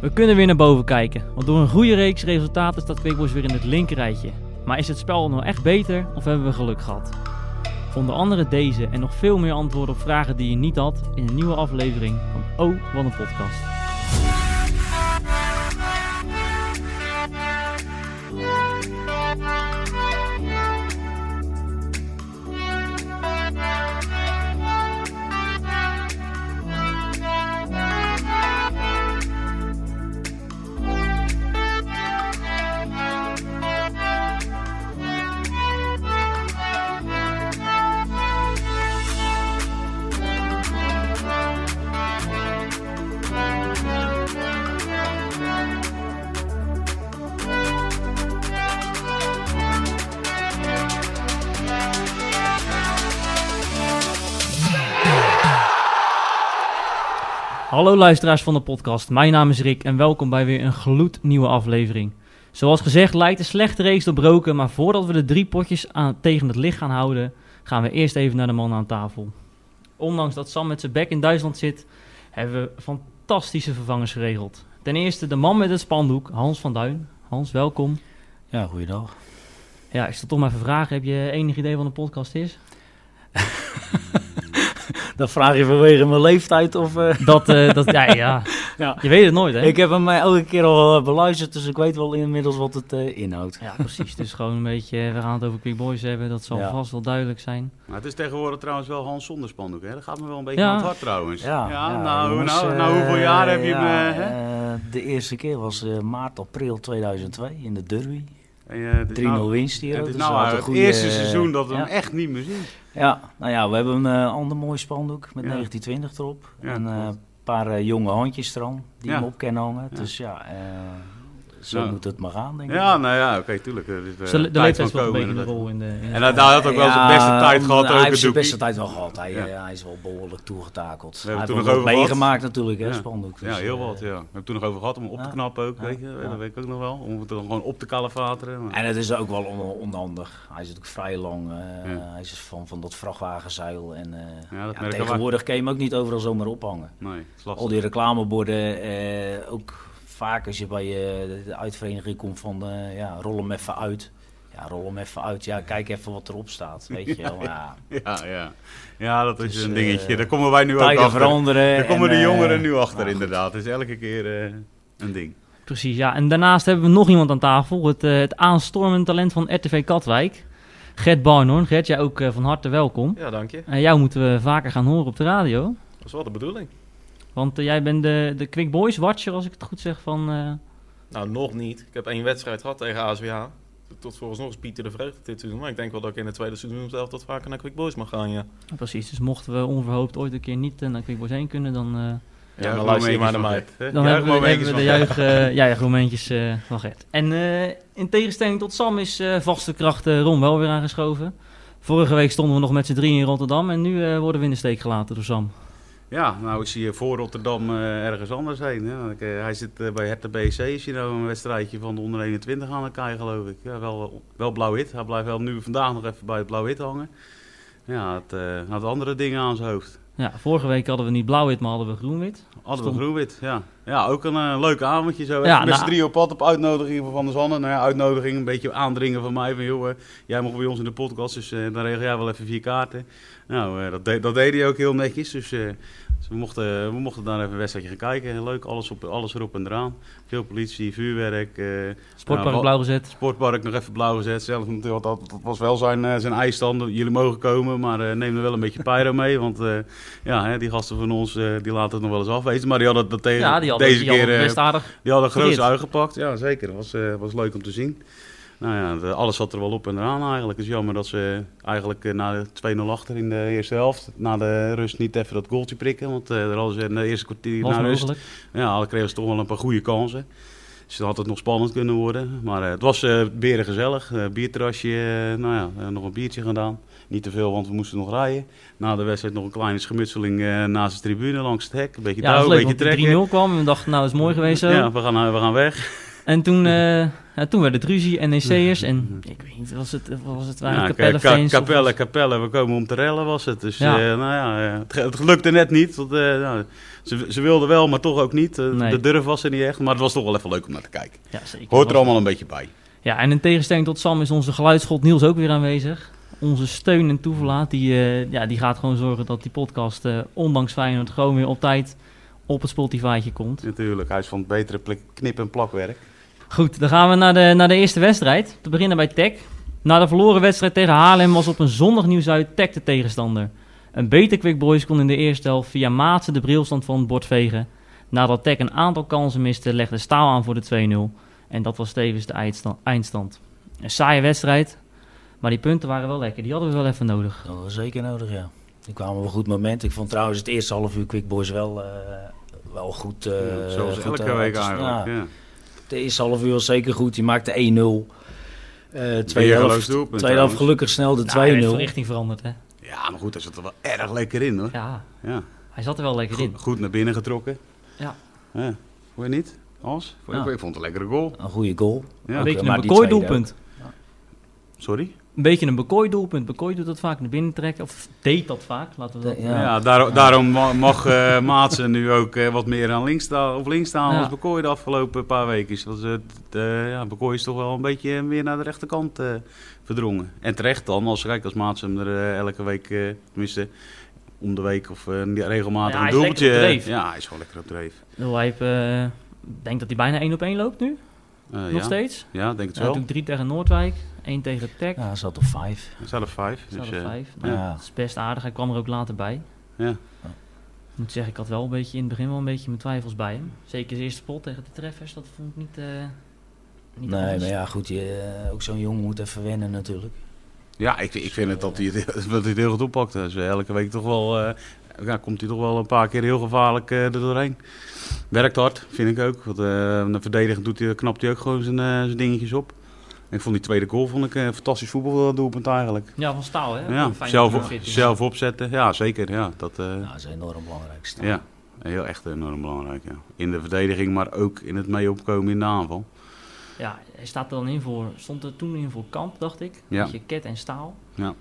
We kunnen weer naar boven kijken, want door een goede reeks resultaten staat Quickboys weer in het linkerrijtje. Maar is het spel nou echt beter of hebben we geluk gehad? Onder andere deze en nog veel meer antwoorden op vragen die je niet had in een nieuwe aflevering van Oh, wat een podcast. Hallo luisteraars van de podcast, mijn naam is Rick en welkom bij weer een gloednieuwe aflevering. Zoals gezegd lijkt de slechte reeks doorbroken, maar voordat we de drie potjes aan, tegen het licht gaan houden, gaan we eerst even naar de man aan tafel. Ondanks dat Sam met zijn bek in Duitsland zit, hebben we fantastische vervangers geregeld. Ten eerste de man met het spandoek, Hans van Duin. Hans, welkom. Ja, goeiedag. Ja, ik zal toch maar even vragen, heb je enig idee wat een podcast is? Dat vraag je vanwege mijn leeftijd of... eh, Dat, eh, dat ja, ja. Ja. je weet het nooit hè? Ik heb hem eh, elke keer al eh, beluisterd, dus ik weet wel inmiddels wat het eh, inhoudt. Ja, precies. Dus gewoon een beetje, eh, we gaan het over Quick Boys hebben, dat zal Ja. vast wel duidelijk zijn. Maar het is tegenwoordig trouwens wel Hans zonder spandoek, hè? Dat gaat me wel een beetje Ja. aan het hart trouwens. Ja, ja, nou, jongens, nou, eh, nou, hoeveel jaar heb je ja, hem... eh, hè? eh, de eerste keer was eh, maart, april 2002 in de derby. 3-0 En, eh, het is nou- winst hier. Het is dus nou we hadden het een goede, eerste eh, seizoen dat we ja. hem echt niet meer zien. Ja, nou ja, we hebben een eh, ander mooi spandoek met Ja. 1920 erop. Ja, en eh, klopt. een paar eh, jonge handjes er aan, die Ja. hem op kunnen hangen. Ja. Dus ja, eh, zo Nou. moet het maar gaan, denk ik. Ja, nou ja, oké, tuurlijk. Er is, eh, Dus de- de, tijd leeftijd van speelt een beetje een komen, inderdaad. rol in de... in de- En hij, hij had ook wel zijn beste Ja, tijd gehad, Hij ook heeft het zijn doekie. beste tijd wel gehad. Hij, Ja. eh, hij is wel behoorlijk toegetakeld. hebben Hij het heeft toen nog nog wat over gehad. meegemaakt natuurlijk, hè, Ja. spandoek. Ja, Dus, heel eh, wat, ja. Heb ik toen nog over gehad om hem op te Ja. knappen ook, weet je. Ja. Dat weet ik ook nog wel. Om het dan gewoon op te kalefateren. maar- En het is ook wel on- onhandig. Hij zit ook vrij lang. eh, Ja. Hij is van, van dat vrachtwagenzeil. En, eh, Ja, dat ja, merken we. tegenwoordig kan je hem ook niet overal zomaar ophangen. Nee, het is Al lastig. die reclameborden, eh, ook vaak als je bij eh, de uitvereniging komt van eh, ja, rol hem even uit. Ja, rol hem even uit. Ja, kijk even wat erop staat. Weet je wel. Ja, Ja, ja. ja, dat is Dus, eh, een dingetje. Daar komen wij nu ook tijden achter. veranderen. Daar komen en, de eh, jongeren nu achter, nou, inderdaad. Het is elke keer eh, een ding. Precies, ja. En daarnaast hebben we nog iemand aan tafel. Het, eh, het aanstormend talent van RTV Katwijk. Gert Barnhoorn. Gert, jij ook eh, van harte welkom. Ja, dank je. En jou moeten we vaker gaan horen op de radio. Dat is wel de bedoeling. Want eh, jij bent de, de Quick Boys watcher, als ik het goed zeg, van... eh, Nou, nog niet. Ik heb één wedstrijd gehad tegen ASWH. Tot vooralsnog is Pieter de Vreugde dit seizoen. Maar ik denk wel dat ik in het tweede seizoen zelf tot vaker naar Quick Boys mag gaan, ja. precies, dus mochten we onverhoopt ooit een keer niet eh, naar Quick Boys heen kunnen, dan, eh, Ja, dan luister je maar naar mij. dan hebben, we, hebben we de juich, eh, juichmomentjes eh, van Gert. En eh, in tegenstelling tot Sam is eh, vaste kracht eh, Ron wel weer aangeschoven. Vorige week stonden we nog met z'n drieën in Rotterdam en nu eh, worden we in de steek gelaten door Sam. Ja, nou ik zie je voor Rotterdam eh, ergens anders heen. Hè. Want ik, eh, hij zit eh, bij Hertha BSC, is hier nou een wedstrijdje van de onder 21 aan elkaar geloof ik. Ja, wel, wel blauw-wit. Hij blijft wel nu vandaag nog even bij het blauw-wit hangen. Ja, het eh, had andere dingen aan zijn hoofd. Ja, vorige week hadden we niet blauw-wit, maar hadden we groen-wit. Hadden Stom. we groen-wit, ja. Ja, ook een eh, leuk avondje zo. Ja, Ja, met z'n nou- drie op pad op uitnodiging van de Zanne. Nou ja, uitnodiging, een beetje aandringen van mij. Van joh, eh, jij mag bij ons in de podcast, dus eh, dan regel jij wel even vier kaarten. Nou, eh, dat, de- dat deed hij ook heel netjes. Dus, eh, dus we, mochten, we mochten daar even een wedstrijdje gaan kijken. Leuk, alles, op, alles erop en eraan. Veel politie, vuurwerk, eh, Sportpark Ja, wa- blauw gezet. sportpark nog even blauw gezet. Zelf natuurlijk, dat, dat was wel zijn, eh, zijn eisstand. Jullie mogen komen, maar eh, neem er wel een beetje pyro mee. Want eh, ja, hè, die gasten van ons eh, die laten het nog wel eens afweten. Maar die hadden dat tegen Ja, die hadden, deze die keer hadden eh, best aardig. die hadden groot Verkeerd. uitgepakt. Ja, zeker. Dat was, eh, was leuk om te zien. Nou ja, de- alles zat er wel op en eraan eigenlijk. Het is jammer dat ze eigenlijk eh, na de 2-0 achter in de eerste helft, na de rust niet even dat goaltje prikken. Want eh er hadden ze in de eerste kwartier Was na rust, mogelijk. ja, dan kregen ze toch wel een paar goede kansen. Dus dan had het nog spannend kunnen worden. Maar eh, het was eh beren gezellig. Eh, bierterrasje, eh, nou ja, eh, nog een biertje gedaan. Niet te veel, want we moesten nog rijden. Na de wedstrijd nog een kleine schermutseling eh, naast de tribune langs het hek. Een beetje Ja, touw, dat een was leuk, beetje want trekken. die 3-0 kwam en we dachten, nou, dat is mooi geweest zo. Ja, we gaan, we gaan weg. En toen, eh, ja, toen werd het ruzie, NEC'ers. En ik weet niet, was het, was het waren Ja, het Capelle Nou, eh, ka- fans? of- Capelle, Capelle, we komen om te rellen was het. Dus Ja. eh, nou ja, eh, het, ge- het lukte net niet. Want, eh, nou, ze, ze wilden wel, maar toch ook niet. Eh, Nee. De durf was er niet echt, maar het was toch wel even leuk om naar te kijken. Ja, zeker. Hoort er allemaal een beetje bij. Ja, en in tegenstelling tot Sam is onze geluidsschot Niels ook weer aanwezig. Onze steun en toeverlaat, die, eh, ja, die gaat gewoon zorgen dat die podcast, eh, ondanks Feyenoord, gewoon weer op tijd op het Spotify'tje komt. Natuurlijk, hij is van het betere plek- knip- en plakwerk. Goed, dan gaan we naar de, naar de eerste wedstrijd. Te beginnen bij Tech. Na de verloren wedstrijd tegen Haarlem was op een zondag Nieuw-Zuid Tech de tegenstander. Een beter Quick Boys kon in de eerste helft via Maatsen de brilstand van het bord vegen. Nadat Tech een aantal kansen miste, legde Staal aan voor de 2-0. En dat was tevens de eindsta- eindstand. Een saaie wedstrijd, maar die punten waren wel lekker. Die hadden we wel even nodig. Dat was zeker nodig, ja. Die kwamen op een goed moment. Ik vond trouwens het eerste half uur Quick Boys wel, eh, wel goed. eh, Ja, Zoals goed elke aan- week dus, eigenlijk. ja, Ja. Het eerste half uur was zeker goed. Die maakte 1-0. Eh tweede Weergeloos helft, doelpunt tweede helft trouwens. gelukkig snel de 2-0. Nou, hij heeft van richting veranderd, hè? ja, maar goed, hij zat er wel erg lekker in hoor. Ja, Ja. hij zat er wel lekker in. Goed, goed naar binnen getrokken. Eh, Ja. ja. Hoor je niet? Als? Ja. Ik vond het een lekkere goal. Een goede goal. Ja. Een Oké, beetje maar een die bekooi tweede doelpunt. Sorry? Een beetje een bekooi doelpunt. Bekooi doet dat vaak naar binnen trekken. Of deed dat vaak, laten we dat. Ja. Ja, daar- daarom ma- mag eh Maatsen nu ook eh, wat meer aan links staan, of links staan Ja. als Bekooi de afgelopen paar weken. Dus, ja, Bekooi is toch wel een beetje eh, meer naar de rechterkant eh, verdrongen. En terecht dan, als, kijk, als Maatsen hem er eh, elke week, eh, tenminste om de week of eh, regelmatig Ja, hij een is lekker doeltje. op dreef. ja, hij is gewoon lekker op dreef. Wil hij, eh, ik denk dat hij bijna 1 op 1 loopt nu. Eh, ja. nog steeds. Ja, denk het Hij wel. doet 3 tegen Noordwijk, 1 tegen Tech. Ja, hij zat op 5. Zelf vijf. Zelf Dus, eh, 5. ja. Dat is best aardig. Hij kwam er ook later bij. Ja. Ik moet zeggen, ik had wel een beetje in het begin wel een beetje mijn twijfels bij hem. Zeker zijn eerste pot tegen de treffers, dat vond ik niet. eh, niet Nee, anders. maar ja, goed. Je, eh, ook zo'n jongen moet even wennen natuurlijk. Ja, ik, ik vind het dat hij het, dat hij het heel goed oppakt. Dus elke week toch wel, eh, ja, komt hij toch wel een paar keer heel gevaarlijk eh er doorheen. Werkt hard, vind ik ook. Want eh verdedigend doet hij, knapt hij ook gewoon zijn, eh, zijn dingetjes op. En ik vond die tweede goal vond ik een fantastisch voetbaldoelpunt eigenlijk. Ja, van staal, hè? Ja, Een fijne zelf, doelfitting. zelf opzetten. Ja, zeker. Ja, dat, eh, Nou, dat is enorm belangrijk. Stan. ja, heel echt enorm belangrijk. Ja. In de verdediging, maar ook in het mee opkomen in de aanval. Ja, hij staat er dan in voor. Stond er toen in voor kamp, dacht ik. Ja. Met je ket en staal. Ja.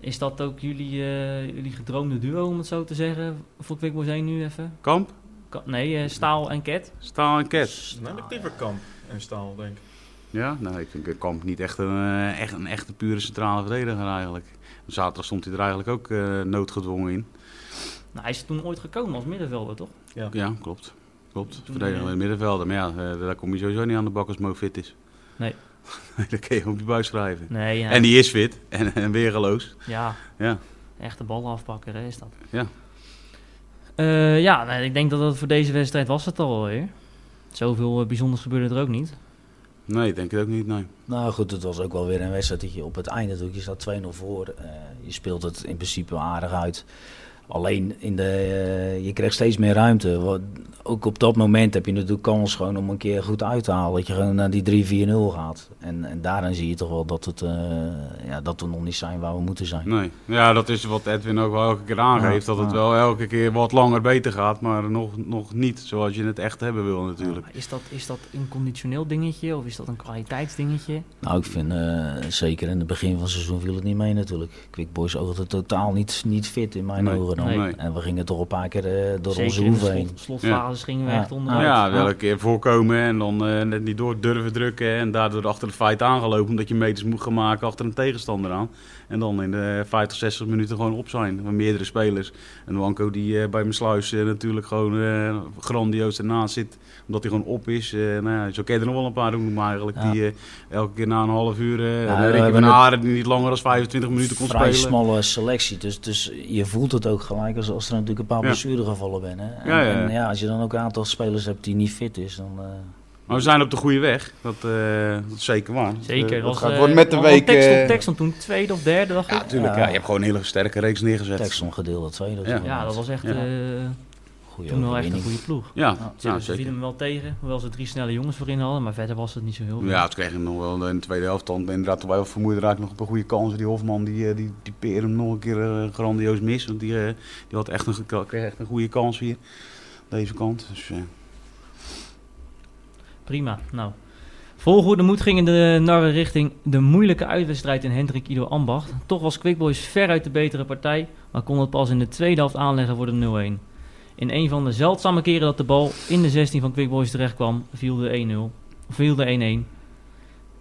Is dat ook jullie, eh, jullie gedroomde duo, om het zo te zeggen? Voor Quick Boys 1 nu even? Kamp, Ka- nee, eh, staal en ket. staal en ket. Dan heb ik liever kamp en staal, denk ik. Ja, nou, ik vind Kamp niet echt een, eh, echt een echte pure centrale verdediger eigenlijk. Zaterdag stond hij er eigenlijk ook eh, noodgedwongen in. Nou, hij is toen ooit gekomen als middenvelder, toch? Ja, klopt. Klopt. Toen, Verdediger in eh, de middenvelden. Maar ja, eh, daar kom je sowieso niet aan de bak als Mo fit is. Nee. Nee, dat kun je op je buis schrijven. Nee, ja. En die is fit. En, en weergeloos. ja. Ja. Echte ballen afpakken, hè, is dat. Ja. Eh, ja, nee, ik denk dat dat voor deze wedstrijd was het alweer. Zoveel eh, bijzonders gebeurde er ook niet. Nee, ik denk het ook niet. Nee. Nou goed, het was ook wel weer een wedstrijd dat je op het einde doet. Je staat 2-0 voor. eh, je speelt het in principe aardig uit. Alleen in de, eh, je krijgt steeds meer ruimte. Wat, ook op dat moment heb je natuurlijk kans gewoon om een keer goed uit te halen. Dat je gewoon naar die 3-4-0 gaat. En, en daarin zie je toch wel dat, het, eh, ja, dat we nog niet zijn waar we moeten zijn. nee. Ja, dat is wat Edwin ook wel elke keer aangeeft. Ja, dat het ja. wel elke keer wat langer beter gaat. Maar nog, nog niet zoals je het echt hebben wil natuurlijk. Maar Is dat, is dat een conditioneel dingetje of is dat een kwaliteitsdingetje? Nou, ik vind eh, zeker in het begin van het seizoen viel het niet mee natuurlijk. Quick Boys oogde totaal niet, niet fit in mijn Nee, ogen dan. nee. En we gingen toch een paar keer eh, door Zeker onze in de hoeven heen. slot- slotfases gingen we Ja. echt onderuit. ja, Ja. wel een keer voorkomen en dan eh, net niet door durven drukken. En daardoor achter de feit aangelopen omdat je meters moet gaan maken achter een tegenstander aan. En dan in de 50, 60 minuten gewoon op zijn. Met meerdere spelers. En Wanko die eh, bij mijn sluis eh, natuurlijk gewoon eh, grandioos ernaast zit. Omdat hij gewoon op is. Eh, nou ja, zo ken je er nog wel een paar doen maar eigenlijk. Ja. Die eh, elke keer na een half uur... eh Ja, Ricky we hebben van het- Haren die niet langer dan 25 minuten kon vrij spelen. smalle selectie. Dus, dus je voelt het ook gelijk als, als er natuurlijk een paar Ja. blessuregevallen zijn. Hè? En, Ja, ja, ja. en ja, als je dan ook een aantal spelers hebt die niet fit is, dan... eh, Maar we zijn op de goede weg. Dat, eh, dat is zeker waar. Zeker. Dat, dat eh, was, dat gaat- eh, wordt met de want- want week... Texton, eh, Texton toen tweede of derde, dacht ik. Ja, natuurlijk. Ja. Ja. je hebt gewoon een hele sterke reeks neergezet. Texon gedeelde tweede. of Ja. zo. Ja, dat was echt Ja. eh, Goeie toen wel echt een overwinning. goede ploeg. Ja, Ze, ja, ze vielen zeker. hem wel tegen, hoewel ze drie snelle jongens voorin hadden, maar verder was het niet zo heel veel. Ja, het kreeg hem nog wel in de tweede helft. Dan inderdaad, toen wij wel vermoeid raakten, nog een paar goede kansen. Die Hofman, die, eh, die, die peer hem nog een keer eh, grandioos mis. Want die, eh, die had echt een, ge- kreeg echt een goede kans hier. Deze kant. Dus, eh, prima. Nou. Vol goede moed ging in de narre richting de moeilijke uitwedstrijd in Hendrik Ido Ambacht. Toch was Quick Boys veruit de betere partij, maar kon het pas in de tweede helft aanleggen voor de 0-1. In een van de zeldzame keren dat de bal in de 16 van Quick Boys terecht kwam, viel de 1-0. Viel de 1-1.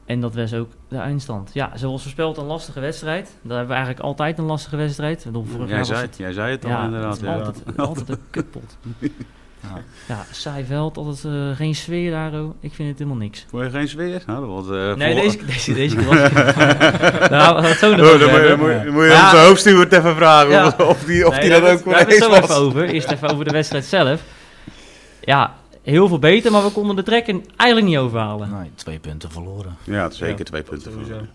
En dat was ook de eindstand. Ja, zoals voorspeld een lastige wedstrijd. Daar hebben we eigenlijk altijd een lastige wedstrijd. Ik bedoel, vorig jaar Jij was zei, het- het, jij zei het al ja, inderdaad. het is Ja. altijd, altijd een kutpot. Ja. Ja, saai veld, altijd eh, geen sfeer daar. oh. Ik vind het helemaal niks. Vond je geen sfeer? Nou, dat was, eh, Nee, voor- deze, deze, deze keer was ik Nou, we gaan het zo nog Oh, over dan moet je, hebben. dan moet je, dan moet je Ja. onze hoofdsteward even vragen Ja. of- of die, of Nee, die daar dat ook hebben we wel het- eens daar hebben we het was. zo even over. Eerst even over de wedstrijd zelf. Ja, heel veel beter, maar we konden de trek en eigenlijk niet overhalen. Nee, twee punten verloren. Ja, het is zeker Ja, twee dat punten. sowieso. voor.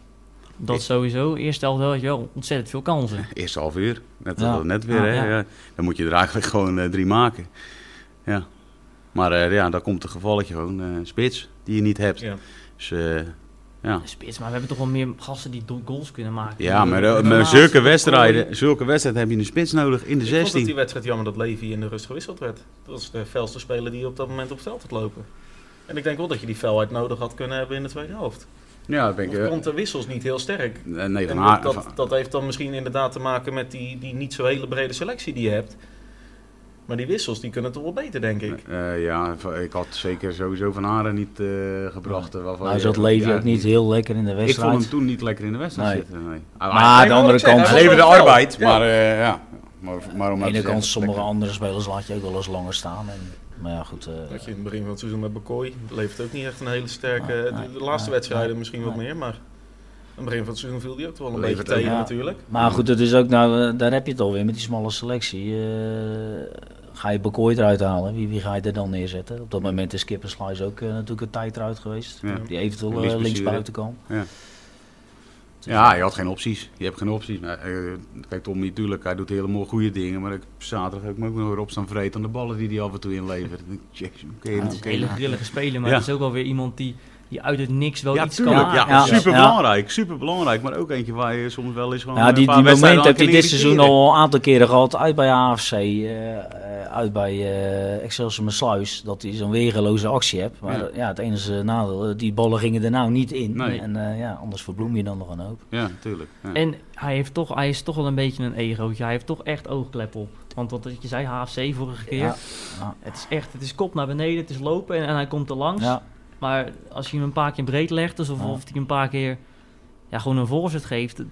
Dat sowieso. Eerst helft wel, had je wel ontzettend veel kansen. Eerste half uur. Net, Ja. dat- net weer, Ah, hè. ja. Ja. Dan moet je er eigenlijk gewoon eh, drie maken. Ja. Maar eh, ja, dan komt een gevalletje gewoon eh, spits die je niet hebt. Ja. Dus, eh, ja. Spits, maar we hebben toch wel meer gasten die do- goals kunnen maken. ja, maar eh, Maas, maar zulke Kooi. wedstrijden, zulke wedstrijden heb je een spits nodig in de Ik vond het die 16. wedstrijd jammer dat Levy in de rust gewisseld werd. Dat was de felste speler die op dat moment op het veld had lopen. En ik denk wel dat je die felheid nodig had kunnen hebben in de tweede helft. Ja, dat ben Of komt de wissels niet heel sterk. eh, Nee, van En dat, haar. dat, van- dat heeft dan misschien inderdaad te maken met die, die niet zo hele brede selectie die je hebt. Maar die wissels die kunnen toch wel beter, denk ik. eh, ja, van- ik had zeker sowieso van Haren niet eh, gebracht. eh, waarvan Nou je- zat Levi ja, ook niet heel lekker in de Ik wedstrijd. vond hem toen niet lekker in de wedstrijd Nee. zitten. Nee. Ah, Maar aan Ah, de maar andere ik zeg, kant, hij Hij was leverde wel fel. arbeid, Ja. maar eh, ja. Maar, maar om Aan de ene kant, sommige anderen. andere spelers laat je ook wel eens langer staan. En, maar ja, goed. eh, Dat je in het begin van het seizoen met Bakooi levert ook niet echt een hele sterke. Nee, de- Ah, nee, de, laatste nee, wedstrijden nee, misschien wat nee. meer, maar aan het begin van het seizoen viel die ook wel een Levert beetje tegen ook. Ja. natuurlijk. Maar goed, het is ook, nou, eh, daar heb je het alweer met die smalle selectie. eh, ga je Bekooi eruit halen? Wie, wie ga je er dan neerzetten? Op dat moment is Kippersluis ook eh, natuurlijk een tijd eruit geweest. Ja. Die eventueel Lies eh, blessure. Oh, linksbuiten kan. Ja. Ja, je had geen opties. Je hebt geen opties. Maar, eh, kijk, Tommy, natuurlijk, hij doet helemaal goede dingen. Maar ik, zaterdag heb ik me ook nog weer op staan vreten aan de ballen die hij af en toe inlevert. En ik denk, Jezus, oké, Ja, Het oké. is een hele grillige speler, maar Ja. het is ook wel weer iemand die, die uit het niks wel Ja, iets tuurlijk. kan Ja, maken. ja. superbelangrijk. Superbelangrijk. Maar ook eentje waar je soms wel eens gewoon Ja, een Nou, die, paar die wedstrijden moment heb hij aan kan dit seizoen irriteren. al een aantal keren gehad. Uit bij AFC, eh, eh, uit bij eh Excelsior Sluis. Dat hij zo'n weergeloze actie hebt. Maar Ja. ja. het enige nadeel, eh, die ballen gingen er nou niet in. Nee. En eh, ja, anders verbloem je dan nog een hoop. Ja, tuurlijk. Ja. En hij, heeft toch, hij is toch wel een beetje een egootje. Hij heeft toch echt oogklep op. Want wat je zei, HFC vorige keer. Ja. Ja. Het is echt, het is kop naar beneden, het is lopen en, en hij komt er langs. Ja, Maar als je hem een paar keer breed legt, dus of, Ja. of hij een paar keer ja, gewoon een voorzet geeft,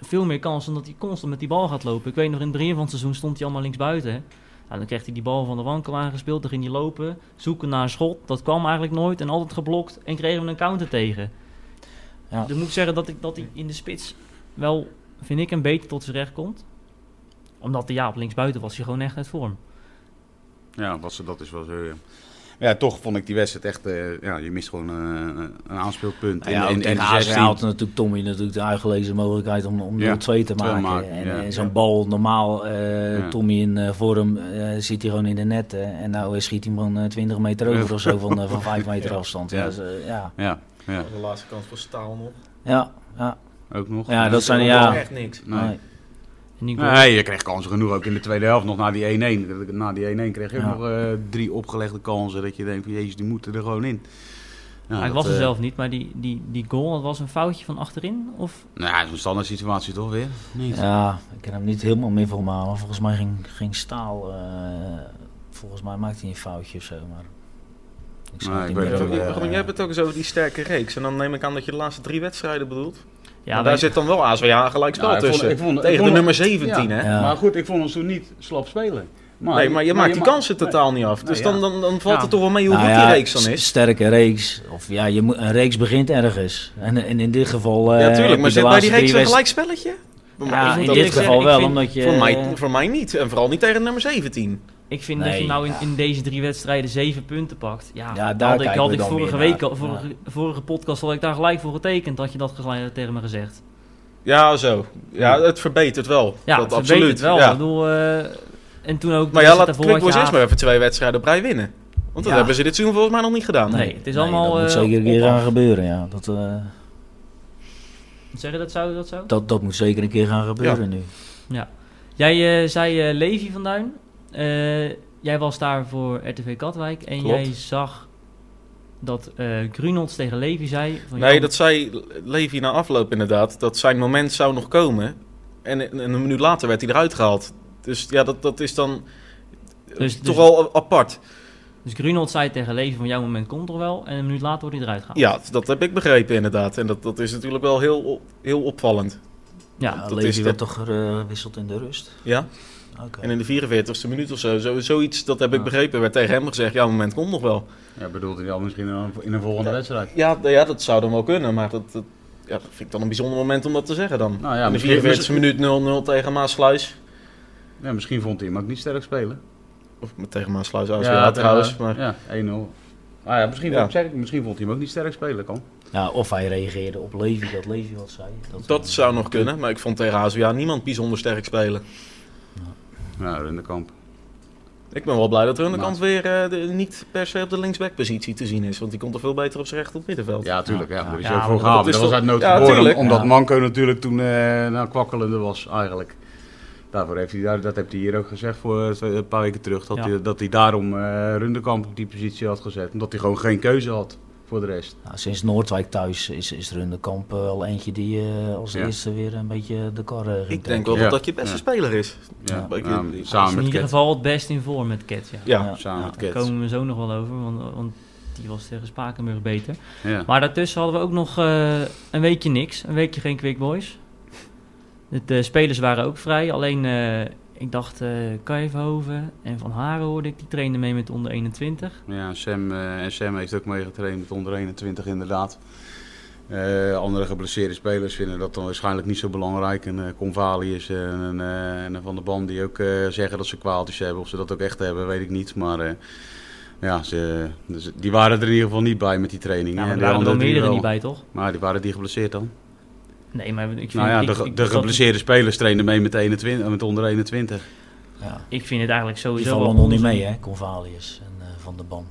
veel meer kans dan dat hij constant met die bal gaat lopen. Ik weet nog, in het begin van het seizoen stond hij allemaal linksbuiten. hè. Nou, dan kreeg hij die bal van de wankel aangespeeld, dan ging hij lopen, zoeken naar een schot. Dat kwam eigenlijk nooit en altijd geblokt en kregen we een counter tegen. Ja. Dus ik moet zeggen dat, ik, dat hij in de spits wel, vind ik, een beter tot zijn recht komt. Omdat hij ja, op linksbuiten was hij gewoon echt uit vorm. Ja, wat ze, dat is wel zo. Ja. Maar ja, toch vond ik die wedstrijd echt. eh, ja, je mist gewoon eh, een aanspeelpunt. Nou ja, ook tegen AZ had natuurlijk Tommy natuurlijk de uitgelezen mogelijkheid om, om Ja, 0-2 te te maken. maken, en ja. eh, zo'n bal, normaal eh, Ja. Tommy in eh, vorm, eh, zit hij gewoon in de net. hè. en nou eh, schiet hij hem gewoon eh, 20 meter over of zo van, eh, van 5 meter Ja. afstand. Ja. Ja. Dus, eh, ja. Ja, ja, De laatste kans voor Staal nog. Ja, ja. ook nog. Ja, dat zijn- Dat ja. was echt niks. Nee. Nee. En die goal- Nee, je kreeg kansen genoeg ook in de tweede helft nog na die 1-1. Na die 1-1 kreeg je ook Ja. nog eh, drie opgelegde kansen. Dat je denkt van jezus, die moeten er gewoon in. Ja, hij dat, was er eh, zelf niet, maar die, die, die goal, dat was een foutje van achterin? Of? Nou ja, zo'n standaard situatie toch weer? Niet. Ja, ik kan hem niet helemaal meer voor me halen. Volgens mij ging, ging Staal, eh, volgens mij maakte hij een foutje of zo. Maar ik zal Nee, het ik niet weet meer, het ook eh, niet. Jeroen, jij hebt het ook zo die sterke reeks. En dan neem ik aan dat je de laatste drie wedstrijden bedoelt. Ja, Maar wij- daar zit dan wel ASWH een gelijkspel Ja, ik vond- tussen. ik vond- ik Tegen vond- de nummer 17, hè? Ja. Maar goed, ik vond ons toen niet slap spelen. nee, maar je maakt die ma- kansen totaal niet af. Dus Nee, ja. dan, dan, dan valt Ja. het toch wel mee hoe Nou goed ja, die reeks dan s- is. Sterke reeks. Of ja, je moet, een reeks begint ergens. En, en in dit geval. eh, Ja, heb tuurlijk. je Maar de zit bij laatste die reeks drie een wedst- gelijkspelletje? Bij mij- Ja, ik Ja, vond in dat eerlijk dit niks. zeggen, geval ik wel, vind- omdat je. Voor mij, eh, voor mij niet. En vooral niet tegen nummer 17. Ik vind dat Nee, je nou in, ja. in deze drie wedstrijden zeven punten pakt. Ja, Ja, daar had ik, kijken had we ik dan vorige weer week, naar. al- vorige, vorige podcast had ik daar gelijk voor getekend, had je dat gelijk eh, tegen me gezegd. Ja, zo. Ja, het verbetert wel. Ja, dat het absoluut. verbetert wel. Ja. Ik bedoel, eh, en toen ook... dus Maar ja, het daarvoor laat Quickboys had je eerst maar even twee wedstrijden op rij winnen. Want dat Ja. hebben ze dit seizoen volgens mij nog niet gedaan. Nee, het is nee, allemaal... Dat moet eh, zeker een keer op- gaan gebeuren, ja. Dat, eh, Zeg je dat zo? Dat zo? dat, dat moet zeker een keer gaan gebeuren nu. Jij eh, zei eh, Levi van Duin. Eh, jij was daar voor RTV Katwijk en Klopt. jij zag dat eh Grunolds tegen Levi zei... Van, Nee, joh, dat zei Levi na afloop inderdaad. Dat zijn moment zou nog komen. En, en een minuut later werd hij eruit gehaald. Dus ja, dat, dat is dan Dus- toch dus- al apart. Dus Grunolds zei tegen Levi van jouw moment komt er wel. En een minuut later wordt hij eruit gehaald. Ja, dat heb ik begrepen inderdaad. En dat, dat is natuurlijk wel heel, op- heel opvallend. Ja, Ja, dat Levy is de- werd toch eh, gewisseld in de rust? Ja? Oké. En in de 44ste minuut of zo, zo zoiets, dat heb ik Ja. begrepen, werd tegen hem gezegd, jouw moment komt nog wel. Ja, bedoelt hij dan misschien in een, in een volgende wedstrijd? Ja, d- ja, dat zou dan wel kunnen, maar dat, dat, ja, dat vind ik dan een bijzonder moment om dat te zeggen dan. Nou ja, in de misschien- 44ste minuut 0-0 tegen Maasluis. Ja, misschien vond hij hem ook niet sterk spelen. Of tegen Maasluis als ja, trouwens. Maar, Ja, 1-0. Ah ja, misschien, Ja. Zeg ik, misschien vond hij hem ook niet sterk spelen, kan. Ja, of hij reageerde op Levy, dat Levy wat zei. Dat, eh, Dat zou nog kunnen, maar ik vond tegen HSWA niemand bijzonder sterk spelen. Nou, Runderkamp. Ik ben wel blij dat er aan de Maar- kant weer eh, de- niet per se op de linksbackpositie te zien is, want die komt er veel beter op zijn recht op middenveld. Ja, tuurlijk. Ja, daar is Ja, hij ook maar voor dat gehaald. is Dat was toch- uit nood Ja, geboren, tuurlijk. omdat Ja. Manco natuurlijk toen eh nou, kwakkelende was eigenlijk. Daarvoor heeft hij, daar- dat heeft hij hier ook gezegd voor eh, twee- een paar weken terug, dat, Ja. hij, dat hij daarom eh Runderkamp op die positie had gezet. Omdat hij gewoon geen keuze had voor de rest. Nou, sinds Noordwijk thuis is, is Runderkamp eh, wel eentje die eh, als Ja. eerste weer een beetje de kar eh, ging Ik denk trekken. wel dat Ja. dat je beste Ja. speler is. Ja, Maar ik- nou, ik- Hij is samen in met ieder Ket. geval het best in vorm met Ket, ja. Ja, Ja. Samen met Daar Ket. komen we zo nog wel over, want, want die was tegen Spakenburg beter. Ja. Maar daartussen hadden we ook nog eh, een weekje niks. Een weekje geen Quick Boys. De, de spelers waren ook vrij. Alleen, eh, ik dacht, eh Kuijfhoven en Van Haren hoorde ik. Die trainden mee met de onder 21. Ja, Sam, eh, en Sam heeft ook meegetraind met onder 21 inderdaad. Eh, andere geblesseerde spelers vinden dat dan waarschijnlijk niet zo belangrijk. En eh Convalius en, eh, en Van der Ban die ook eh, zeggen dat ze kwaaltjes hebben. Of ze dat ook echt hebben, weet ik niet. Maar eh, ja, ze, dus die waren er in ieder geval niet bij met die training. Ja, Nou, maar En er die waren wel andere drie meerdere wel. niet bij, toch? Maar die waren die geblesseerd dan? Nee, maar ik vind... nou ja, ik- de, ik- ge- de dat- geblesseerde spelers trainen mee met, 21, met onder 21. Ja. Ik vind het eigenlijk Die sowieso vallen wel nog niet onzin. mee, hè, Convalius en eh, Van der Ban.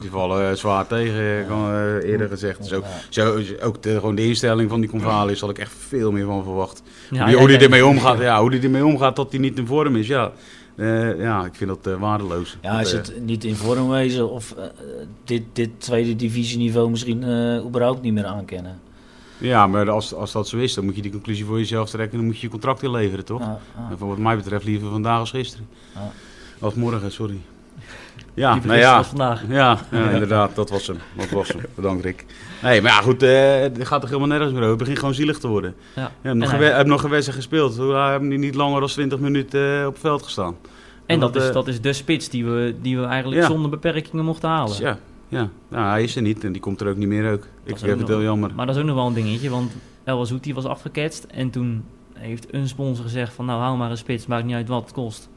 Die vallen eh, zwaar tegen, eh, kan, eh, eerder gezegd. Dus ook, Ja. Zo, is ook de, gewoon de instelling van die Convalis had ik echt veel meer van verwacht. Ja, Die- ja, hoe ja. die ermee omgaat, ja, hoe die ermee omgaat dat hij niet in vorm is, ja. Eh, ja, ik vind dat eh, waardeloos. Ja, is Dat, eh, het niet in vorm wezen of eh, dit, dit tweede divisieniveau misschien eh, überhaupt niet meer aankennen? eh, ja maar als, als dat zo is, dan moet je die conclusie voor jezelf trekken en dan moet je je contract inleveren, toch? Ja, ah. ja. En van wat mij betreft liever vandaag als gisteren. Ja. Als morgen, sorry. Ja, Liever gisteren nou ja. als vandaag. Ja, ja, inderdaad, dat was hem. Dat was hem. Bedankt, Rick. Nee, maar ja, goed, eh, het gaat toch helemaal nergens meer over. Het begint gewoon zielig te worden. Ja. Je hebt nog, En een hij- we- heb nog een wedstrijd gespeeld. Hoe hij heeft niet langer dan 20 minuten eh, op het veld gestaan. En dat, is, eh, dat is de spits die we, die we eigenlijk Ja. zonder beperkingen mochten halen. dus Ja, ja. Nou, hij is er niet en die komt er ook niet meer ook. Ik is vind ook nog- het heel jammer. Maar dat is ook nog wel een dingetje, want El Azout was afgeketst. En toen heeft een sponsor gezegd van nou hou maar een spits, maakt niet uit wat het kost.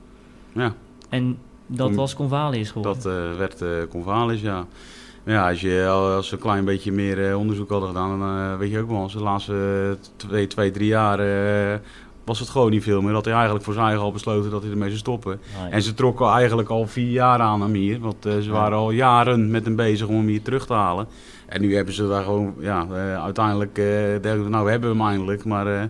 Ja. En dat Om- was Convalius geworden. Dat eh, werd eh Convalis, ja. Ja, als, je, al- als ze een klein beetje meer eh, onderzoek hadden gedaan, dan eh, weet je ook wel, als de laatste eh, twee, twee drie jaar eh, was het gewoon niet veel meer. Dat hij eigenlijk voor zijn eigen al besloten dat hij ermee zou stoppen. Nee. En ze trokken eigenlijk al vier jaar aan hem hier, want eh, ze Ja. waren al jaren met hem bezig om hem hier terug te halen. En nu hebben ze daar gewoon, ja, eh, uiteindelijk, eh, denken we, nou we hebben we hem eindelijk, maar eh,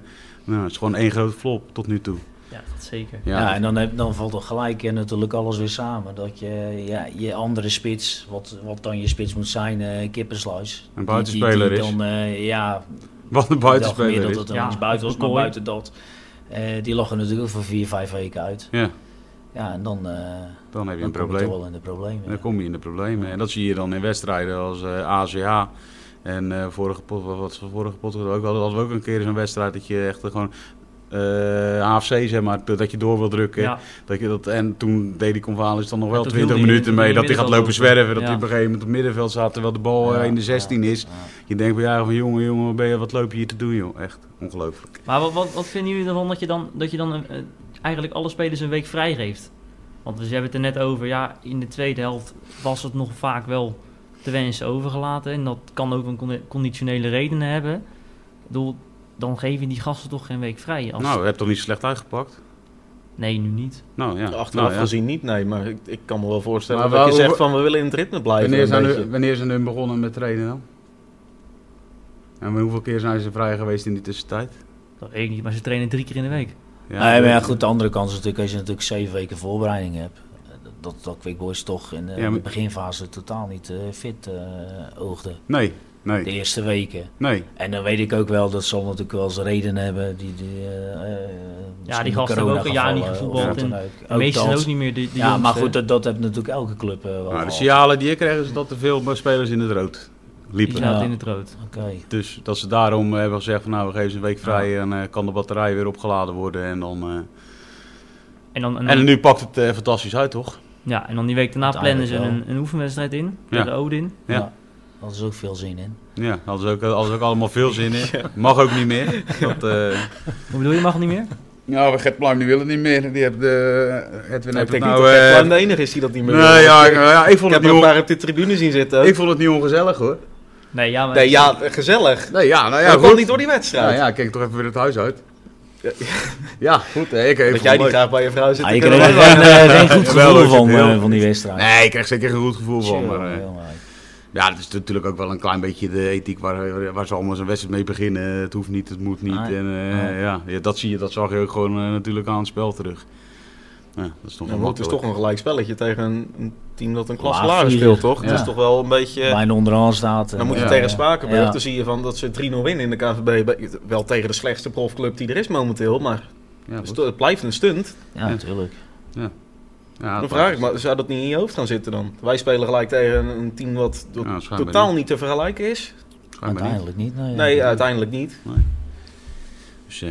nou, het is gewoon één grote flop tot nu toe. Ja, dat zeker. Ja, en dan, heb, dan valt er gelijk en natuurlijk alles weer samen. Dat je ja, je andere spits, wat, wat dan je spits moet zijn, eh kippensluis. Een buitenspeler die, is. Dan, eh, ja, Wat een ik dacht buitenspeler meer is. dat het Ja, een buiten was, maar Kooi. buiten dat. eh, die lag er natuurlijk voor vier, vijf weken uit. Ja, Ja, en dan, eh, dan heb je dan een kom je probleem. toch wel in de problemen. Dan Ja. kom je in de problemen. En dat zie je dan in wedstrijden als eh ACH. En eh, vorige pot, wat was de vorige pot ook hadden, hadden we ook een keer zo'n wedstrijd dat je echt gewoon eh AFC zeg maar, dat je door wil drukken. Ja, Dat je dat, en toen deed die Convalis dan nog wel toen 20 hield hij- minuten toen mee hield dat hij hij gaat middenveld lopen open. zwerven. Dat Ja. hij op een gegeven moment op middenveld staat terwijl de bal eh, Ja, in de ja, 16 is. ja. Je denkt bij jaren van jongen, jongen, ben je, wat loop je hier te doen joh. Echt ongelooflijk. maar wat, wat, wat vinden jullie ervan dat je dan, dat je dan eh, eigenlijk alle spelers een week vrij geeft? Want we hebben het er net over, ja, in de tweede helft was het nog vaak wel te wensen overgelaten. En dat kan ook een condi- conditionele redenen hebben. Ik bedoel, dan geef je die gasten toch geen week vrij. Als... Nou, je hebt toch niet slecht uitgepakt? Nee, nu niet. Nou ja. Achteraf nou, ja. gezien niet, nee, maar ik, ik kan me wel voorstellen Maar dat je waar- zegt van we willen in het ritme blijven. Wanneer een zijn, beetje. hun, wanneer zijn hun begonnen met trainen dan? En hoeveel keer zijn ze vrij geweest in die tussentijd? Dat weet ik niet, maar ze trainen drie keer in de week. Ja, nee, maar ja, dat- goed, de andere kant is natuurlijk als je natuurlijk zeven weken voorbereiding hebt. eh, dat- dat, dat Quick Boys toch in de, Ja, maar- de beginfase totaal niet eh, fit eh, oogde. Nee, De nee, eerste weken. nee. En dan weet ik ook wel, dat zal natuurlijk wel eens reden hebben. Die, die, eh, eh, misschien die gasten corona hebben ook een jaar niet gevallen of gevoetbald wat en dan ook. De meesten zijn dat. ook niet meer de, de eh, Ja, maar jongste. goed, dat, dat heeft natuurlijk elke club eh, wel Nou, de gehad. signalen die ik kreeg is dat er veel spelers in het rood liepen. Die zaten Ja. in het rood. Oké. Dus dat ze daarom hebben gezegd van nou we geven ze een week vrij en eh, kan de batterij weer opgeladen worden. En, dan, eh, En dan, en dan- en nu pakt het eh, fantastisch uit toch? ja, en dan die week daarna plannen Uiteindelijk ze een, een oefenwedstrijd in. Ja. tegen De Odin. Ja. Ja. Daar is ook veel zin in. Ja, hadden ze ook, eh, hadden ze ook allemaal veel zin in. Mag ook niet meer. Dat, eh, Hoe bedoel je, mag het niet meer? Ja, Nou, Gert Pluim die wil het niet meer. Die heeft de, Edwin ik heeft het denk niet nou... dat eh, Gert Pluim de enige is die dat niet meer wil. nee, ja, ik- ik, ja, ik, vond het heb er niet een on- paar op de tribune zien zitten. ook. ik vond het niet ongezellig hoor. Nee, ja, maar... Nee, ja, gezellig. Nee, ja, nou Ja, ja, dat kwam goed. niet door die Ja, wedstrijd. ja, kijk toch even weer het huis uit. Ja, goed. hè, Ik, ik dat vond het jij niet leuk. graag bij je vrouw zit. Ah, te je kunnen kreeg er lachen. geen, eh, geen goed Jawel, gevoel ik van, vind het eh, heel- van die wedstrijd. Nee, ik kreeg zeker een goed gevoel van. Jongen, Maar, eh, jongen. ja, dat is natuurlijk ook wel een klein beetje de ethiek waar, waar ze allemaal zijn wedstrijd mee beginnen. Het hoeft niet, het moet niet. Ah, en, eh, ah. ja, ja, dat zie je, dat zag je ook gewoon eh, natuurlijk aan het spel terug. Ja, dat is toch wel Nou, maar het is makkelijk. toch een gelijk spelletje tegen een, een team dat een klas Laag lager vier. speelt, toch? Het Ja. is toch wel een beetje... Mijn onderaan staat. eh, Dan moet je Ja. tegen dus- Spakenburg, Ja. dan zie je van dat ze 3-0 winnen in de KVB. Bij- Wel tegen de slechtste profclub die er is momenteel, maar Ja, goed. sto- het blijft een stunt. Ja, natuurlijk. Ja, Dan dat- vraag ik me, zou dat niet in je hoofd gaan zitten dan? Wij spelen gelijk tegen een, een team wat do- Ja, nou, schijnbaar totaal niet. niet te vergelijken is. schijnbaar niet. Uiteindelijk niet. Nee, Nee, uiteindelijk niet. Dus, eh,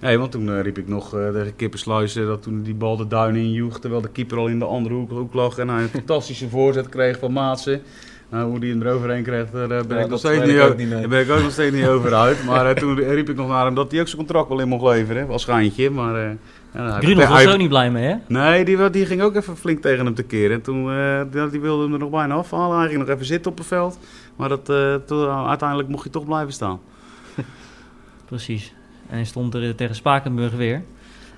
nee, want toen eh, riep ik nog eh de kippensluis eh, dat toen die bal de duinen injoeg, terwijl de keeper al in de andere hoek, hoek lag en hij een fantastische voorzet kreeg van Maatsen. Nou, hoe die hem eroverheen kreeg, daar eh, ben, Ja, ik nog dat steeds weet niet, ik ook o- niet, nee. daar ben ik ook nog steeds niet over uit. Maar eh, toen riep ik nog naar hem dat hij ook zijn contract wel in mocht leveren, als schijntje. Maar, eh, ja, hij- Grunhoff was hij- er ook niet blij mee, hè? Nee, die, wa- die ging ook even flink tegen hem te keren. En toen eh, die, die wilde hem er nog bijna afhalen. Hij ging nog even zitten op het veld. Maar dat, eh, toen, uiteindelijk mocht hij toch blijven staan. Precies. En hij stond er eh, tegen Spakenburg weer.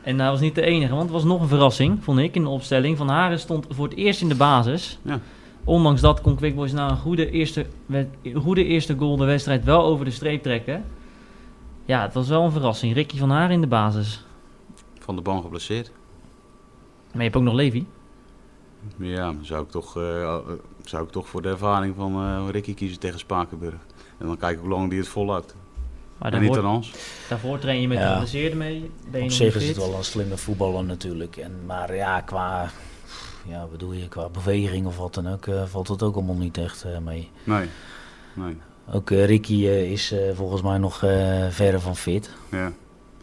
En hij was niet de enige, want het was nog een verrassing, vond ik, in de opstelling. Van Haren stond voor het eerst in de basis. Ja. Ondanks dat kon Quick Boys na een goede eerste, wed- een goede eerste goal de wedstrijd wel over de streep trekken. Ja, het was wel een verrassing. Ricky van Haren in de basis. Van de bal geblesseerd. Maar je hebt ook nog Levi. Ja, maar zou ik toch, eh, eh, zou ik toch voor de ervaring van eh, Ricky kiezen tegen Spakenburg. En dan kijken hoe lang die het volhoudt. Maar en niet daarvoor, aan ons. daarvoor train je met Ja. de geblesseerde mee. Ben je Op nog zich niet is het fit? wel een slimme voetballer natuurlijk. En, maar ja, qua, ja, wat bedoel je, qua beweging of wat dan ook, eh, valt het ook allemaal niet echt eh, mee. Nee. Nee. Ook eh, Ricky eh, is eh, volgens mij nog eh verre van fit. Ja.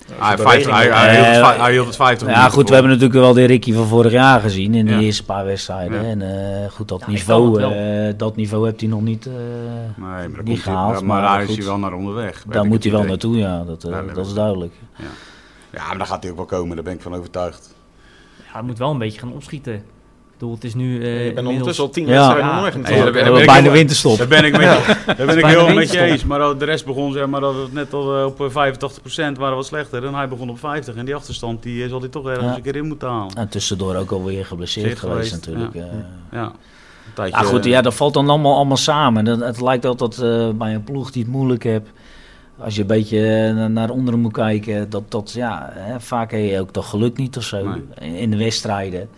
Zijn Hij, vijf, beweging- hij, hij Eh, hield het, vij- hij hield het 50 Nou Ja, goed, we hebben natuurlijk wel de Ricky van vorig jaar gezien in de Ja. eerste paar wedstrijden. Ja. En eh, goed, dat, Ja, hij kan niveau, het eh, dat niveau hebt hij nog niet. eh, Nee, maar, daar niet komt hij- gehaald, maar, maar maar daar is goed. hij wel naar onderweg. weet daar ik moet het hij wel idee. naartoe, ja, dat, eh, Ja, nee, dat is dat- duidelijk. Ja, maar daar gaat hij ook wel komen. Daar ben ik van overtuigd. Ja, hij moet wel een beetje gaan opschieten. Ik bedoel, het is nu... eh, Ik ben inmiddels- ondertussen al tien Ja. wedstrijden Ja. onderweg. Ja, daar ben- daar ben we ik bijna wel- winterstop. Daar ben ik, met, daar ben ik bijna heel met je winterstop. eens. Maar al- de rest begon zeg maar, dat we het net al eh, op eh, 85% waren wat slechter. En hij begon op 50. En die achterstand die eh, zal hij toch ergens Ja. een keer in moeten halen. En tussendoor ook alweer geblesseerd Zit geweest, geweest, natuurlijk. eh. Ja, een tijdje, Ja, goed, eh, ja, dat valt dan allemaal, allemaal samen. Dat, het lijkt altijd eh, bij een ploeg die het moeilijk hebt. Als je een beetje eh, na- naar onderen moet kijken, dat, dat ja, hè, vaak heb je ook dat geluk niet of zo in- in de wedstrijden.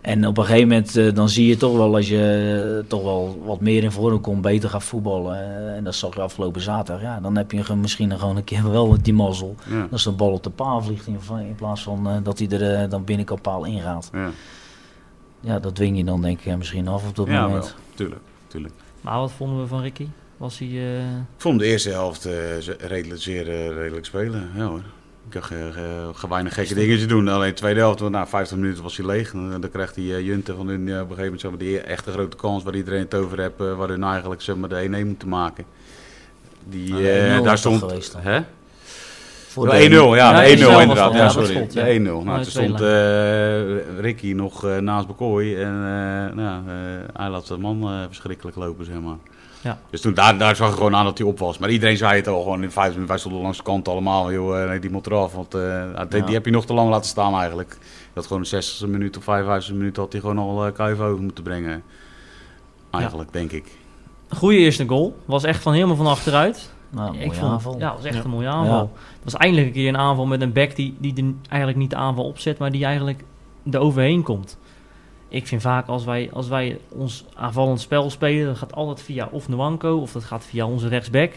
En op een gegeven moment eh, dan zie je toch wel als je eh, toch wel wat meer in vorm komt, beter gaat voetballen. eh, en dat zag je afgelopen zaterdag. Ja, dan heb je ge- misschien gewoon een keer wel die mazzel. ja, Dat is een bal op de paal vliegt in, in plaats van eh, dat hij er eh, dan binnenkant paal ingaat. ja. Ja, dat dwing je dan denk ik eh, misschien af op dat ja, moment. wel. Tuurlijk, tuurlijk. Maar wat vonden we van Ricky? Was hij... eh, Ik vond de eerste helft eh, ze- redelijk, zeer eh, redelijk spelen. Ja hoor. Ik ga, ge- ge- ge- weinig gekke dingetjes doen. Alleen de tweede helft, want na 50 minuten was hij leeg. En dan krijgt die eh, Junte van hun eh, op een gegeven moment zeg maar, die echte grote kans waar iedereen het over heeft. eh, waar hun eigenlijk zeg maar, de 1-1 moeten maken. Die, Nou, de eh, 1-0 daar was toch stond. geweest dan? Hè? Voor De 1-0, ja, Ja, de 1-0 die zelf inderdaad. was Ja, dat, sorry. dat schot, de ja. 1-0. Nou, Maar toen stond twee eh, Ricky nog eh, naast Bekooi en eh, nou, eh, hij laat de man eh, verschrikkelijk lopen, zeg maar. Ja. Dus toen, daar, daar zag ik gewoon aan dat hij op was. Maar iedereen zei het al, gewoon in vijf minuten, wij stonden langs de kant allemaal, joh, eh, nee, die moet eraf, want eh, die, Ja. die heb je nog te lang laten staan eigenlijk. Dat gewoon de 60e minuut of 55e minuut had hij gewoon al eh kuif over moeten brengen. Eigenlijk, denk ik. Goede eerste goal. Was echt van helemaal van achteruit. Nou, mooie ik vond, aanval. Ja, was echt Ja. een mooie aanval. Het was eindelijk een keer een aanval met een back die, die de- eigenlijk niet de aanval opzet, maar die eigenlijk er overheen komt. Ik vind vaak als wij, als wij ons aanvallend spel spelen, dat gaat altijd via of Nwanko of dat gaat via onze rechtsback.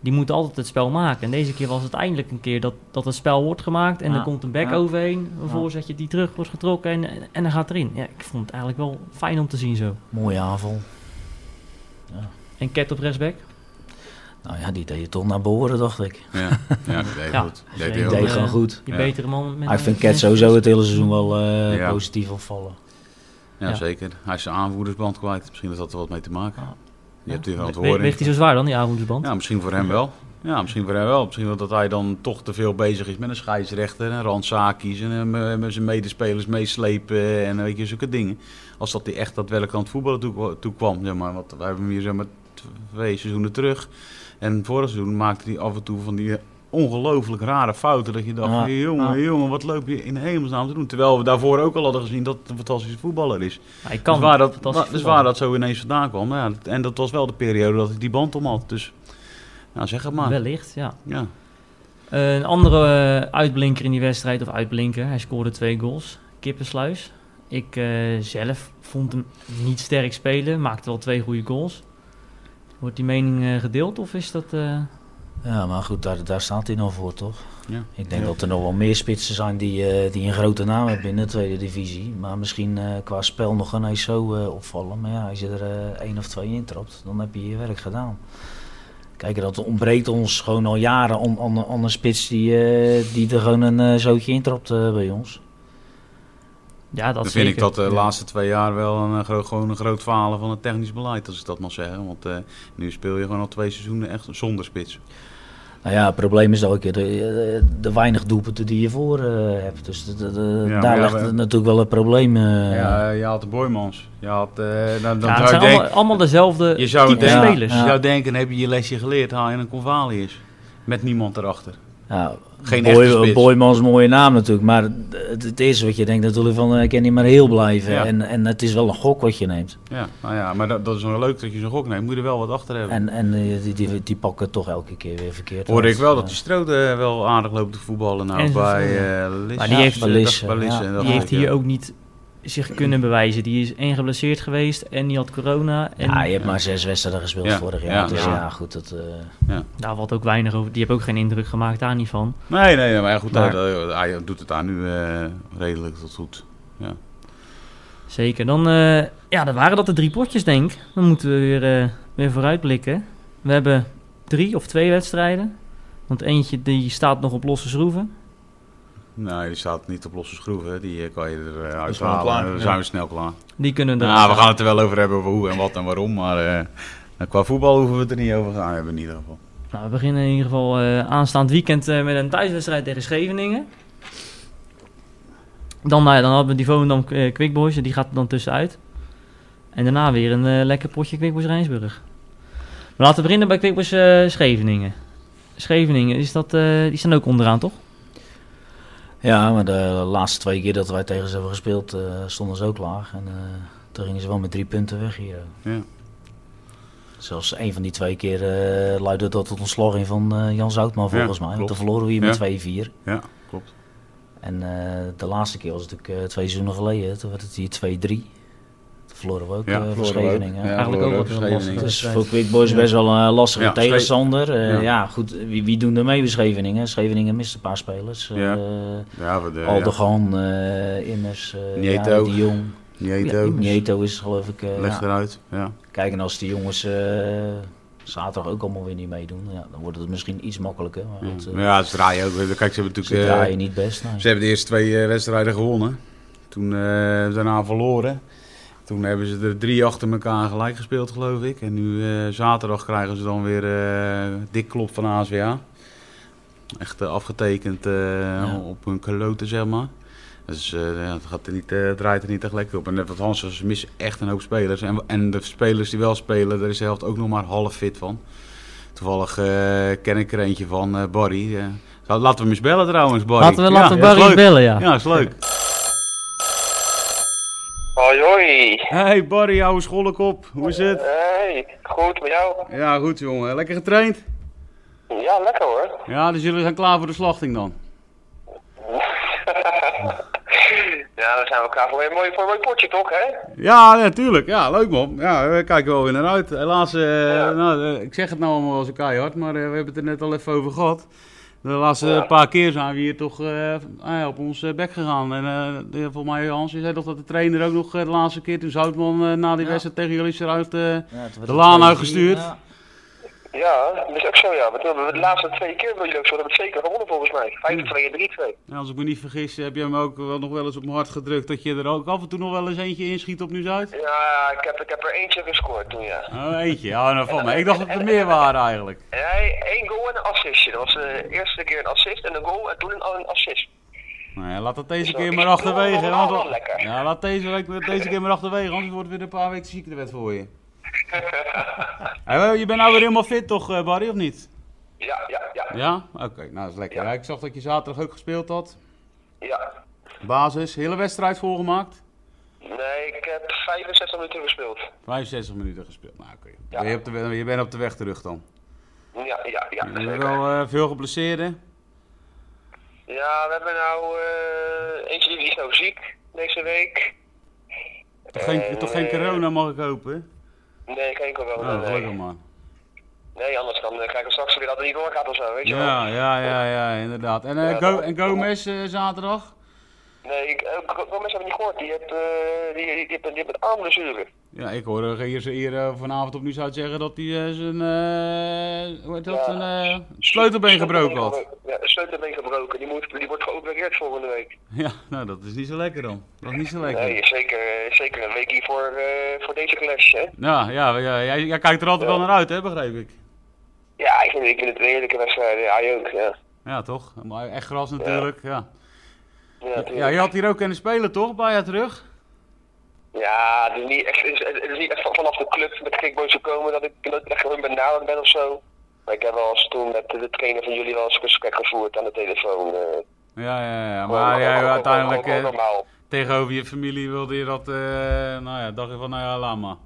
Die moeten altijd het spel maken. En deze keer was het eindelijk een keer dat, dat het spel wordt gemaakt. En Ja, dan komt een back ja. overheen, een Ja. voorzetje die terug wordt getrokken en, en, en dan gaat erin. Ja, ik vond het eigenlijk wel fijn om te zien zo. Mooie aanval. En Cat op rechtsback? Nou ja, die deed je toch naar behoren, dacht ik. Ja, ja dat deed Ja, goed. dat Deed is een deed heel goed. idee. gewoon goed. Je Ja. betere man. Met Maar ik vind met- Cat sowieso het hele seizoen wel eh, Ja. positief opvallen. Ja, Ja. zeker. Hij is zijn aanvoerdersband kwijt. Misschien heeft dat er wat mee te maken. Ja. Je hebt hier We- we- verantwoording. Weegt hij zo zwaar dan, die aanvoerdersband? Ja, misschien voor hem wel. Ja, misschien voor hem wel. Misschien wel dat hij dan toch te veel bezig is met een scheidsrechter en randzaakjes en eh, me- met zijn medespelers meeslepen en eh, weet je, zulke dingen. Als dat hij echt daadwerkelijk aan het voetballen toe, toe kwam, zeg maar. Want we hebben hem hier zeg maar twee seizoenen terug. En vorig seizoen maakte hij af en toe van die eh, ongelooflijk rare fouten. Dat je dacht, Ja, jongen, ja. jongen, wat leuk je in hemelsnaam te doen. Terwijl we daarvoor ook al hadden gezien dat het een fantastische voetballer is. Hij kan. dus waar dat, fantastisch wa- dus voetballen. waar dat zo ineens vandaan kwam. Nou ja, dat- en dat was wel de periode dat ik die band om had. Dus nou, zeg het maar. Wellicht, ja. Ja. Eh, een andere eh, uitblinker in die wedstrijd, of uitblinker, hij scoorde twee goals. Kippensluis. Ik eh, zelf vond hem niet sterk spelen, maakte wel twee goede goals. Wordt die mening eh, gedeeld of is dat... eh, Ja, maar goed, daar, daar staat hij nou voor, toch? Ja. Ik denk Ja. dat er nog wel meer spitsen zijn die, eh, die een grote naam hebben binnen de tweede divisie. Maar misschien eh, qua spel nog geen eens zo eh, opvallen. Maar ja, als je er eh, één of twee intrapt, dan heb je je werk gedaan. Kijk, dat ontbreekt ons gewoon al jaren om- aan aan een spits die, eh, die er gewoon een eh, zootje intrapt eh, bij ons. ja, dat Dan vind ik zeker. dat de laatste twee jaar wel een, eh, groot, gewoon een groot falen van het technisch beleid, als ik dat mag zeggen. Want eh, nu speel je gewoon al twee seizoenen echt zonder spits. Nou ja, het probleem is ook eh, de, eh, de weinig doelpunten die je voor eh, hebt. Dus de- de- de- maar daar ja, ligt we- het natuurlijk wel een probleem. eh, ja, je had de Boymans. Je, had, eh, dan, dan Ja, het zou zijn je, denken, allemaal, allemaal dezelfde je zou type denken- spelers. je Ja. zou denken, dan heb je je lesje geleerd, haal je een Convalius. Met niemand erachter. Ja, Geen Geen echte spits. Boyman is een mooie naam natuurlijk, maar het, het is wat je denkt natuurlijk van, eh, ik kan niet maar heel blijven. Ja. En, en het is wel een gok wat je neemt. Ja, nou ja, maar dat, dat is wel leuk dat je zo'n gok neemt. Moet je er wel wat achter hebben. En, en eh, die, die, die pakken het toch elke keer weer verkeerd. Hoorde uit. ik wel dat Ja. die Stroot eh, wel aardig loopt te voetballen nou, En zo bij veel. eh Lisse. Maar die heeft- bij Lisse, Bij Lisse, ja. en dat Die heeft ook, ja. hier ook niet zich kunnen bewijzen. Die is één geblesseerd geweest en die had corona. En Ja, je hebt maar zes wedstrijden gespeeld Ja, vorig jaar. ja, dus ja. ja, goed, dat... eh, daar wat ook weinig over. Die heeft ook geen indruk gemaakt daar niet van. Nee, nee, nee, maar ja, goed, Maar- Hij, hij doet het daar nu eh, redelijk tot goed. Zeker. Dan, eh, ja, dan waren dat de drie potjes, denk ik. Dan moeten we weer, eh, weer vooruitblikken. We hebben drie of twee wedstrijden. Want eentje die staat nog op losse schroeven. Nee, die staat niet op losse schroeven. Die eh, kan je eruit Dat is uit gewoon halen. klaar, en dan ja. zijn we snel klaar. Die kunnen we Nou, eruit we halen. gaan het er wel over hebben over hoe en wat en waarom. Maar eh, qua voetbal hoeven we het er niet over gaan hebben in ieder geval. Nou, we beginnen in ieder geval eh, aanstaand weekend eh, met een thuiswedstrijd tegen Scheveningen. Dan, nou ja, dan hebben we die Volendam eh, Quick Boys, en die gaat er dan tussenuit. En daarna weer een eh, lekker potje Quick Boys Rijnsburg. Maar laten we beginnen bij Quick Boys eh, Scheveningen. Scheveningen, is dat, eh, die staan ook onderaan, toch? ja, maar de laatste twee keer dat wij tegen ze hebben gespeeld, eh, stonden ze ook laag. En eh, toen gingen ze wel met drie punten weg hier. Ja. Zelfs een van die twee keer eh, luidde dat tot ontslag in van eh, Jan Zoutman volgens mij. klopt. Want toen verloren we hier Ja. met 2-4. Ja, klopt. En eh, de laatste keer was het natuurlijk eh, twee seizoenen geleden. Toen werd het hier 2-3. Toen verloren we ook Ja, eh, van verloren we ook. Scheveningen. Dus, eh, Ja, Eigenlijk ook wat verloren ook heel lastig. Het Scheveningen. is voor Quick Boys best wel een eh, lastige Ja, tegenstander. Eh, Ja. ja. goed. Wie, wie doen er mee bij Scheveningen? Scheveningen mist een paar spelers. Ja. Ja. Ja, we de, ja. Aldegan, eh, Immers, eh Nieto. Jari de Jong. Die heet Ja, ook. Immers. Nieto is geloof ik. eh, Leg ja. eruit. Ja. Kijk, en als die jongens eh, zaterdag ook allemaal weer niet meedoen, ja, dan wordt het misschien iets makkelijker. Maar Ja. goed, eh, Maar Hmm. ja, ze draaien ook. Kijk, ze hebben natuurlijk... ze eh, draaien niet best. nee. Ze hebben de eerste twee eh, wedstrijden gewonnen. Toen eh, daarna verloren. Toen hebben ze er drie achter elkaar gelijk gespeeld, geloof ik. En nu eh, zaterdag krijgen ze dan weer eh dik klop van ASWA. Echt eh, afgetekend eh, op hun kloten, zeg maar. Dus eh, ja, het, gaat er niet, eh, het draait er niet echt lekker op. En net wat Hans zei, ze missen echt een hoop spelers. En, en de spelers die wel spelen, daar is de helft ook nog maar half fit van. Toevallig eh, ken ik er eentje van, eh, Barry. eh. Zou- laten we hem eens bellen trouwens, Barry. Laten we, laten we ja, dat Barry is eens leuk. bellen, ja. Ja, is leuk. Hoi, hoi. Hey Barry, oude schollekop. Hoe is het? Hey, goed met jou? Ja, goed jongen. Lekker getraind? Ja, lekker hoor. Ja, dus jullie zijn klaar voor de slachting dan? ja, Ja, dan zijn we klaar voor een mooi, voor een mooi potje, toch, hè? Ja, natuurlijk. Ja, leuk man. Ja, we kijken wel weer naar uit. Helaas, eh, nou, eh, ik zeg het nou allemaal wel zo keihard, maar eh, we hebben het er net al even over gehad. De laatste Ja. paar keer zijn we hier toch eh, ah ja, op ons eh, bek gegaan. En eh, de- volgens mij, Hans, je zei toch dat de trainer ook nog eh, de laatste keer toen Zoutman eh, na die Ja. wedstrijd tegen jullie is eruit... eh, Ja, het wordt De Laan een uitgestuurd. Ja, Ja, dat is ook zo, ja. Want we hebben de laatste twee keer bij jullie ook zo, dat hebben we het zeker gewonnen volgens mij. 5-2 en 3-2. nou, als ik me niet vergis, heb jij me ook wel nog wel eens op mijn hart gedrukt dat je er ook af en toe nog wel eens eentje inschiet op Nieuw-Zuid? Ja, ik heb, ik heb er eentje gescoord toen, ja. Oh, eentje. Ja, nou, van mij. Ik dacht dat er meer waren eigenlijk. Hij, één goal en een assistje. Dat was de eerste keer een assist en een goal en toen een, een assist. Nou ja, laat dat deze Zo, keer ik maar doe achterwege. hè, allemaal Want wel lekker. ja, laat deze, week, deze keer maar achterwege, anders wordt het weer een paar weken ziekte wet voor je. Hé, je bent nou weer helemaal fit toch, eh, Barry, of niet? Ja, ja, ja. Ja? Oké, nou dat is lekker. Ja, ik zag dat je zaterdag ook gespeeld had. ja. Basis, hele wedstrijd volgemaakt. Nee, ik heb 65 minuten gespeeld. 65 minuten gespeeld. Nou, oké. Ja. Ben je, op de, we- je bent op de weg terug dan. Ja, ja, ja. Je hebt zeker. wel eh, veel geblesseerden. Ja, we hebben nou eh, eentje die is nou ziek deze week. Toch geen, Eh, toch geen corona, mag ik hopen? Nee, geen corona. Oh, gelukkig nee. maar. nee, anders dan eh, kijken we straks weer dat het niet doorgaat of zo, weet je wel. Ja, ja, ja, ja, inderdaad. En, eh, Ja, Go, dat- en Gomez eh, zaterdag? Nee, ik, eh, ik- ik- mensen hebben niet gehoord. Die heeft, eh, die, die, die, heeft- die heeft een armblessure. Ja, ik hoorde hier, hier eh, vanavond opnieuw zou zeggen dat hij eh, zijn eh, hoe heet dat, Ja. een, eh, sleutelbeen gebroken had. Ja, een sleutelbeen gebroken. Die, moet, die wordt geopereerd volgende week. Ja, nou dat is niet zo lekker dan. Dat is niet zo lekker. Nee, zeker, eh, zeker een weekie voor, eh, voor deze clash, hè. Ja, ja, ja jij, jij kijkt er altijd wel naar uit, hè, begrijp ik. Ja, ik vind, ik vind het een heerlijke wedstrijd. Ja, hij ook, ja. Ja, toch? Maar echt gras natuurlijk, ja. Ja, Ja, je had hier ook kunnen spelen, toch, bij je terug? Ja, het is niet echt, het is, het is niet echt van- vanaf de club met kickboys gekomen dat ik dat ik echt gewoon benaderd ben of zo. Maar ik heb wel eens toen met de trainer van jullie wel eens een gesprek gevoerd aan de telefoon. eh. Ja, ja, ja. Gewoon- Maar jij gewoon- uiteindelijk gewoon- gewoon eh, normaal. tegenover je familie wilde je dat, eh, nou ja, dacht je van, nou ja, laat maar.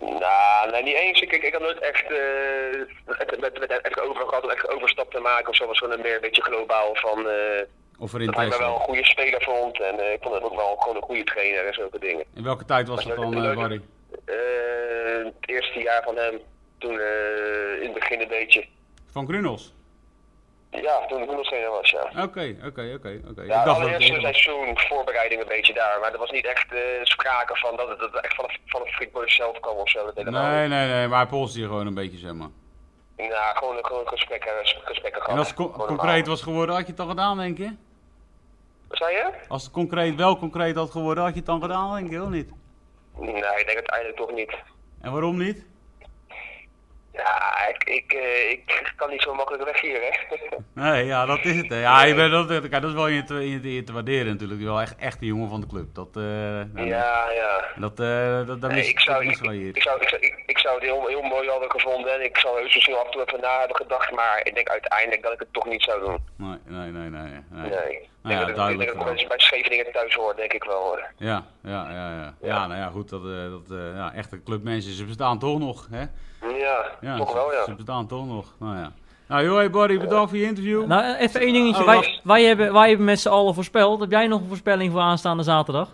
Nou, nee, niet eens. Ik, ik, ik had nooit echt, eh, met, met, met echt over gehad om echt een overstap te maken of zo. was gewoon een meer een beetje globaal van eh Of er dat hij me wel een interesse. goede speler vond. En eh, ik vond hem ook wel gewoon een goede trainer en zulke dingen. In welke tijd was dat dan, eh, Barry? Eh, het eerste jaar van hem, toen eh, in het begin een beetje. Van Grunels? Ja, toen ik nog trainer was, ja. Oké, oké, oké, oké. Ja, Ik het dacht dat allereerste seizoen voorbereiding een beetje daar, maar er was niet echt eh, sprake van dat het, dat het echt vanaf, vanaf Freakboy zelf kwam of zo. Dat helemaal Nee, niet. nee, nee, maar hij polste hier gewoon een beetje, zeg maar. Nou, gewoon, gewoon gesprekken, gesprekken gehad. En als het co- Gewoon concreet normaal. was geworden, had je het dan gedaan, denk je? Wat zei je? Als het concreet wel concreet had geworden, had je het dan gedaan, denk je, of niet? Nee, ik denk uiteindelijk toch niet. En waarom niet? Ja, ik, ik, eh, ik kan niet zo makkelijk weg hier, hè. Nee, ja, dat is het. hè. Ja, je bent, dat, kijk, dat is wel in je te, in je te- in je te waarderen natuurlijk. Je bent wel echt, echt een jongen van de club. Dat, eh, nou, ja, ja. dat, eh, dat, dat Nee, mis, ik zou, dat ik, missen wij ik hier. zou, ik, zou- ik, ik zou het heel, heel mooi hadden gevonden en ik zou heus misschien af en toe even na hebben gedacht, maar ik denk uiteindelijk dat ik het toch niet zou doen. Nee, nee, nee, nee. nee. Nee. Ik Nou ja, denk dat, ik duidelijk denk dat wel. mensen bij Scheveningen thuis hoort, denk ik wel. hoor. Ja, ja, ja, ja. Ja, nou ja, goed. Dat, eh, dat, eh, ja, echte clubmensen, ze bestaan toch nog, hè? Ja, Ja, toch ze, wel, ja. ze bestaan toch nog. Nou ja. Nou, joh, hey Barry, bedankt voor je interview. Nou, eh, even één dingetje. Oh, wij, wacht. wij, hebben, wij hebben met z'n allen voorspeld. Heb jij nog een voorspelling voor aanstaande zaterdag?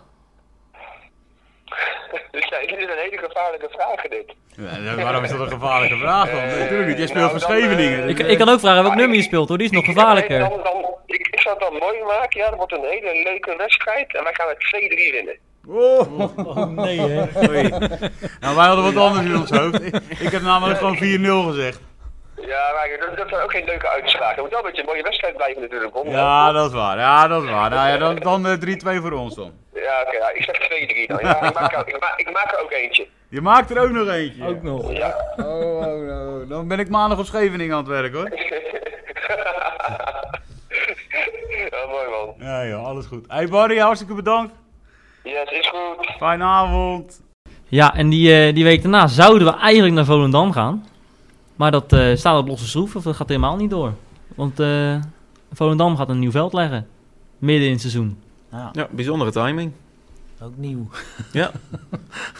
Dit zijn, Dus dit is een hele gevaarlijke vraag, dit. Ja, waarom is dat een gevaarlijke vraag dan? Nee, natuurlijk niet. Jij speelt nou, voor dan, eh, Scheveningen. Ik, ik kan ook vragen welk nummer je speelt hoor. Die is nog Ja, gevaarlijker. Dan, dan, ik, ik zou het dan mooi maken, ja. Dat wordt een hele leuke wedstrijd. En wij gaan met 2-3 winnen. Oh, Oh nee hè. sorry. Nou, wij hadden wat anders in ons hoofd. Ik, ik heb namelijk gewoon 4-0 gezegd. Ja, maar dat, dat zijn ook geen leuke uitspraken. Het moet wel een beetje een mooie wedstrijd blijven natuurlijk. hoor. Ja, dat is waar. Ja, dat is waar. Nou ja, dan, dan eh, 3-2 voor ons dan. Ja, oké. ja, ik zeg 2-3 dan. Ja, ik, maak er, ik, ma- ik maak er ook eentje. Je maakt er ook nog eentje. Ook nog. Ja. Oh, oh, oh. Dan ben ik maandag op Scheveningen aan het werk hoor. ja, mooi man. Ja joh, alles goed. Hey Barry, hartstikke bedankt. Yes, is goed. Fijne avond. Ja, en die, eh, die week daarna zouden we eigenlijk naar Volendam gaan. Maar dat eh, staat op losse schroef of dat gaat helemaal niet door. Want eh, Volendam gaat een nieuw veld leggen. Midden in het seizoen. Ja, bijzondere timing. ook nieuw. Dat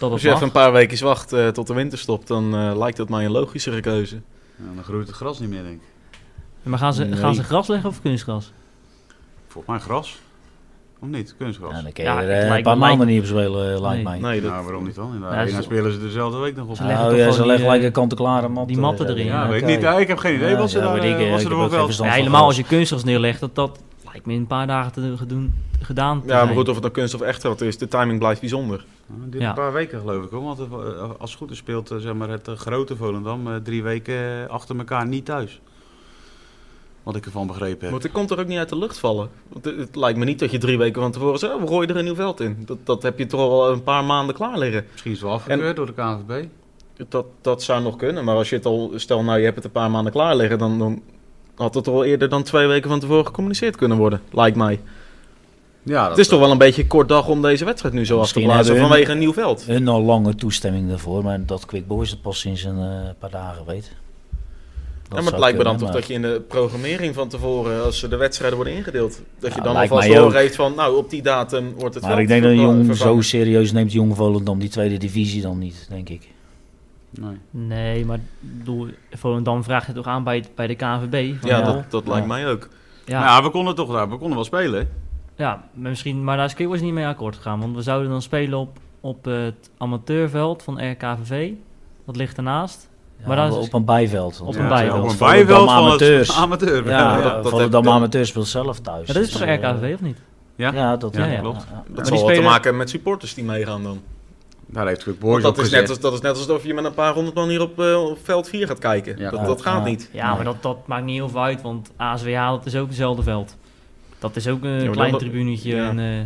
Als was Dus je even een paar weken wacht eh, tot de winter stopt, dan eh, lijkt dat mij een logischere keuze. Ja, dan groeit het gras niet meer denk ik. Maar gaan ze, Nee. gaan ze gras leggen of kunstgras? Volgens mij gras. Of niet? Kunstgras. Ja, Ja, dan kun je Ja, er het eh, lijkt een me- paar maanden lijkt- niet op spelen, eh, lijkt Nee. mij. Nee, dat, nou, waarom niet dan? In de Ja, arena ze- spelen ze dezelfde week nog op. leggen Oh toch ja, gewoon ze die, leggen eh, gelijk een kant-en-klare mat. die matten eh, erin, erin. Ja, Ja, weet ik Oké. niet. Ja, ik heb geen idee Ja, wat ze ja, daar weet ik, eh, eh, wat ik ze heb ervoor ook geen wel. verstand. Ja, van helemaal als gras. je kunstgras neerlegt, dat dat lijkt me in een paar dagen te gedoen, gedaan te ja, maar zijn. goed, of het nou kunst of echt geld is, de timing blijft bijzonder. Ja, dit Ja. een paar weken geloof ik hoor. Want eh, als het goed is speelt eh, zeg maar, het eh, grote Volendam eh, drie weken eh, achter elkaar niet thuis. Wat ik ervan begrepen heb. Want het komt er ook niet uit de lucht vallen. Want het, het lijkt me niet dat je drie weken van tevoren zegt, "Oh, we gooien er een nieuw veld in. Dat, dat heb je toch al een paar maanden klaar liggen. Misschien is het wel afgekeurd door de KNVB. Dat, dat zou nog kunnen, maar als je het al, stel nou je hebt het een paar maanden klaar liggen, dan, dan had het al eerder dan twee weken van tevoren gecommuniceerd kunnen worden, lijkt mij. Ja, dat, Het is toch wel een beetje een kort dag om deze wedstrijd nu zo af te Misschien blazen hebben hun- vanwege een nieuw veld. Hun al lange toestemming daarvoor, maar dat Quick Boys het pas sinds een eh, paar dagen weet. Ja, maar het lijkt me dan toch dat je in de programmering van tevoren, als de wedstrijden worden ingedeeld, dat Ja, je dan lijkt alvast mij ook. doorgeeft van, nou op die datum wordt het Maar veld ik denk dat verva- Jong zo vervangen. serieus neemt Jong Volendam die tweede divisie dan niet, denk ik. nee. Nee, maar doel, Volendam vraagt het toch aan bij, bij de KNVB. van, Ja, joh, dat, dat lijkt Ja. mij ook. ja, Nou, ja, we konden toch daar, we konden wel spelen. hè? Ja, maar misschien, maar daar is Kickboys niet mee akkoord gegaan. Want we zouden dan spelen op, op het amateurveld van RKVV. Dat ligt ernaast. Ja, Maar dat is- op een bijveld. want Op een Ja, bijveld. Op een Volendam bijveld van amateurs. het amateur. Ja, dat- dat Volendam heb- dat- Amateur speelt zelf thuis. Ja, dat is dus, toch eh, RKVV of niet? Ja? Ja, dat Ja, ja, klopt. ja, ja. die Dat zal wel te spelen- maken hebben met supporters die meegaan dan. Daar heeft Quick Want Boys op Dat is, net gezet. als, dat is net alsof je met een paar honderd man hier op, eh, op veld 4 gaat kijken. Ja. dat, dat gaat Ja. niet. Ja, maar dat, dat maakt niet heel veel uit. Want ASWH, dat is ook hetzelfde veld. Dat is ook een maar klein dat- tribunetje. ja. En, eh,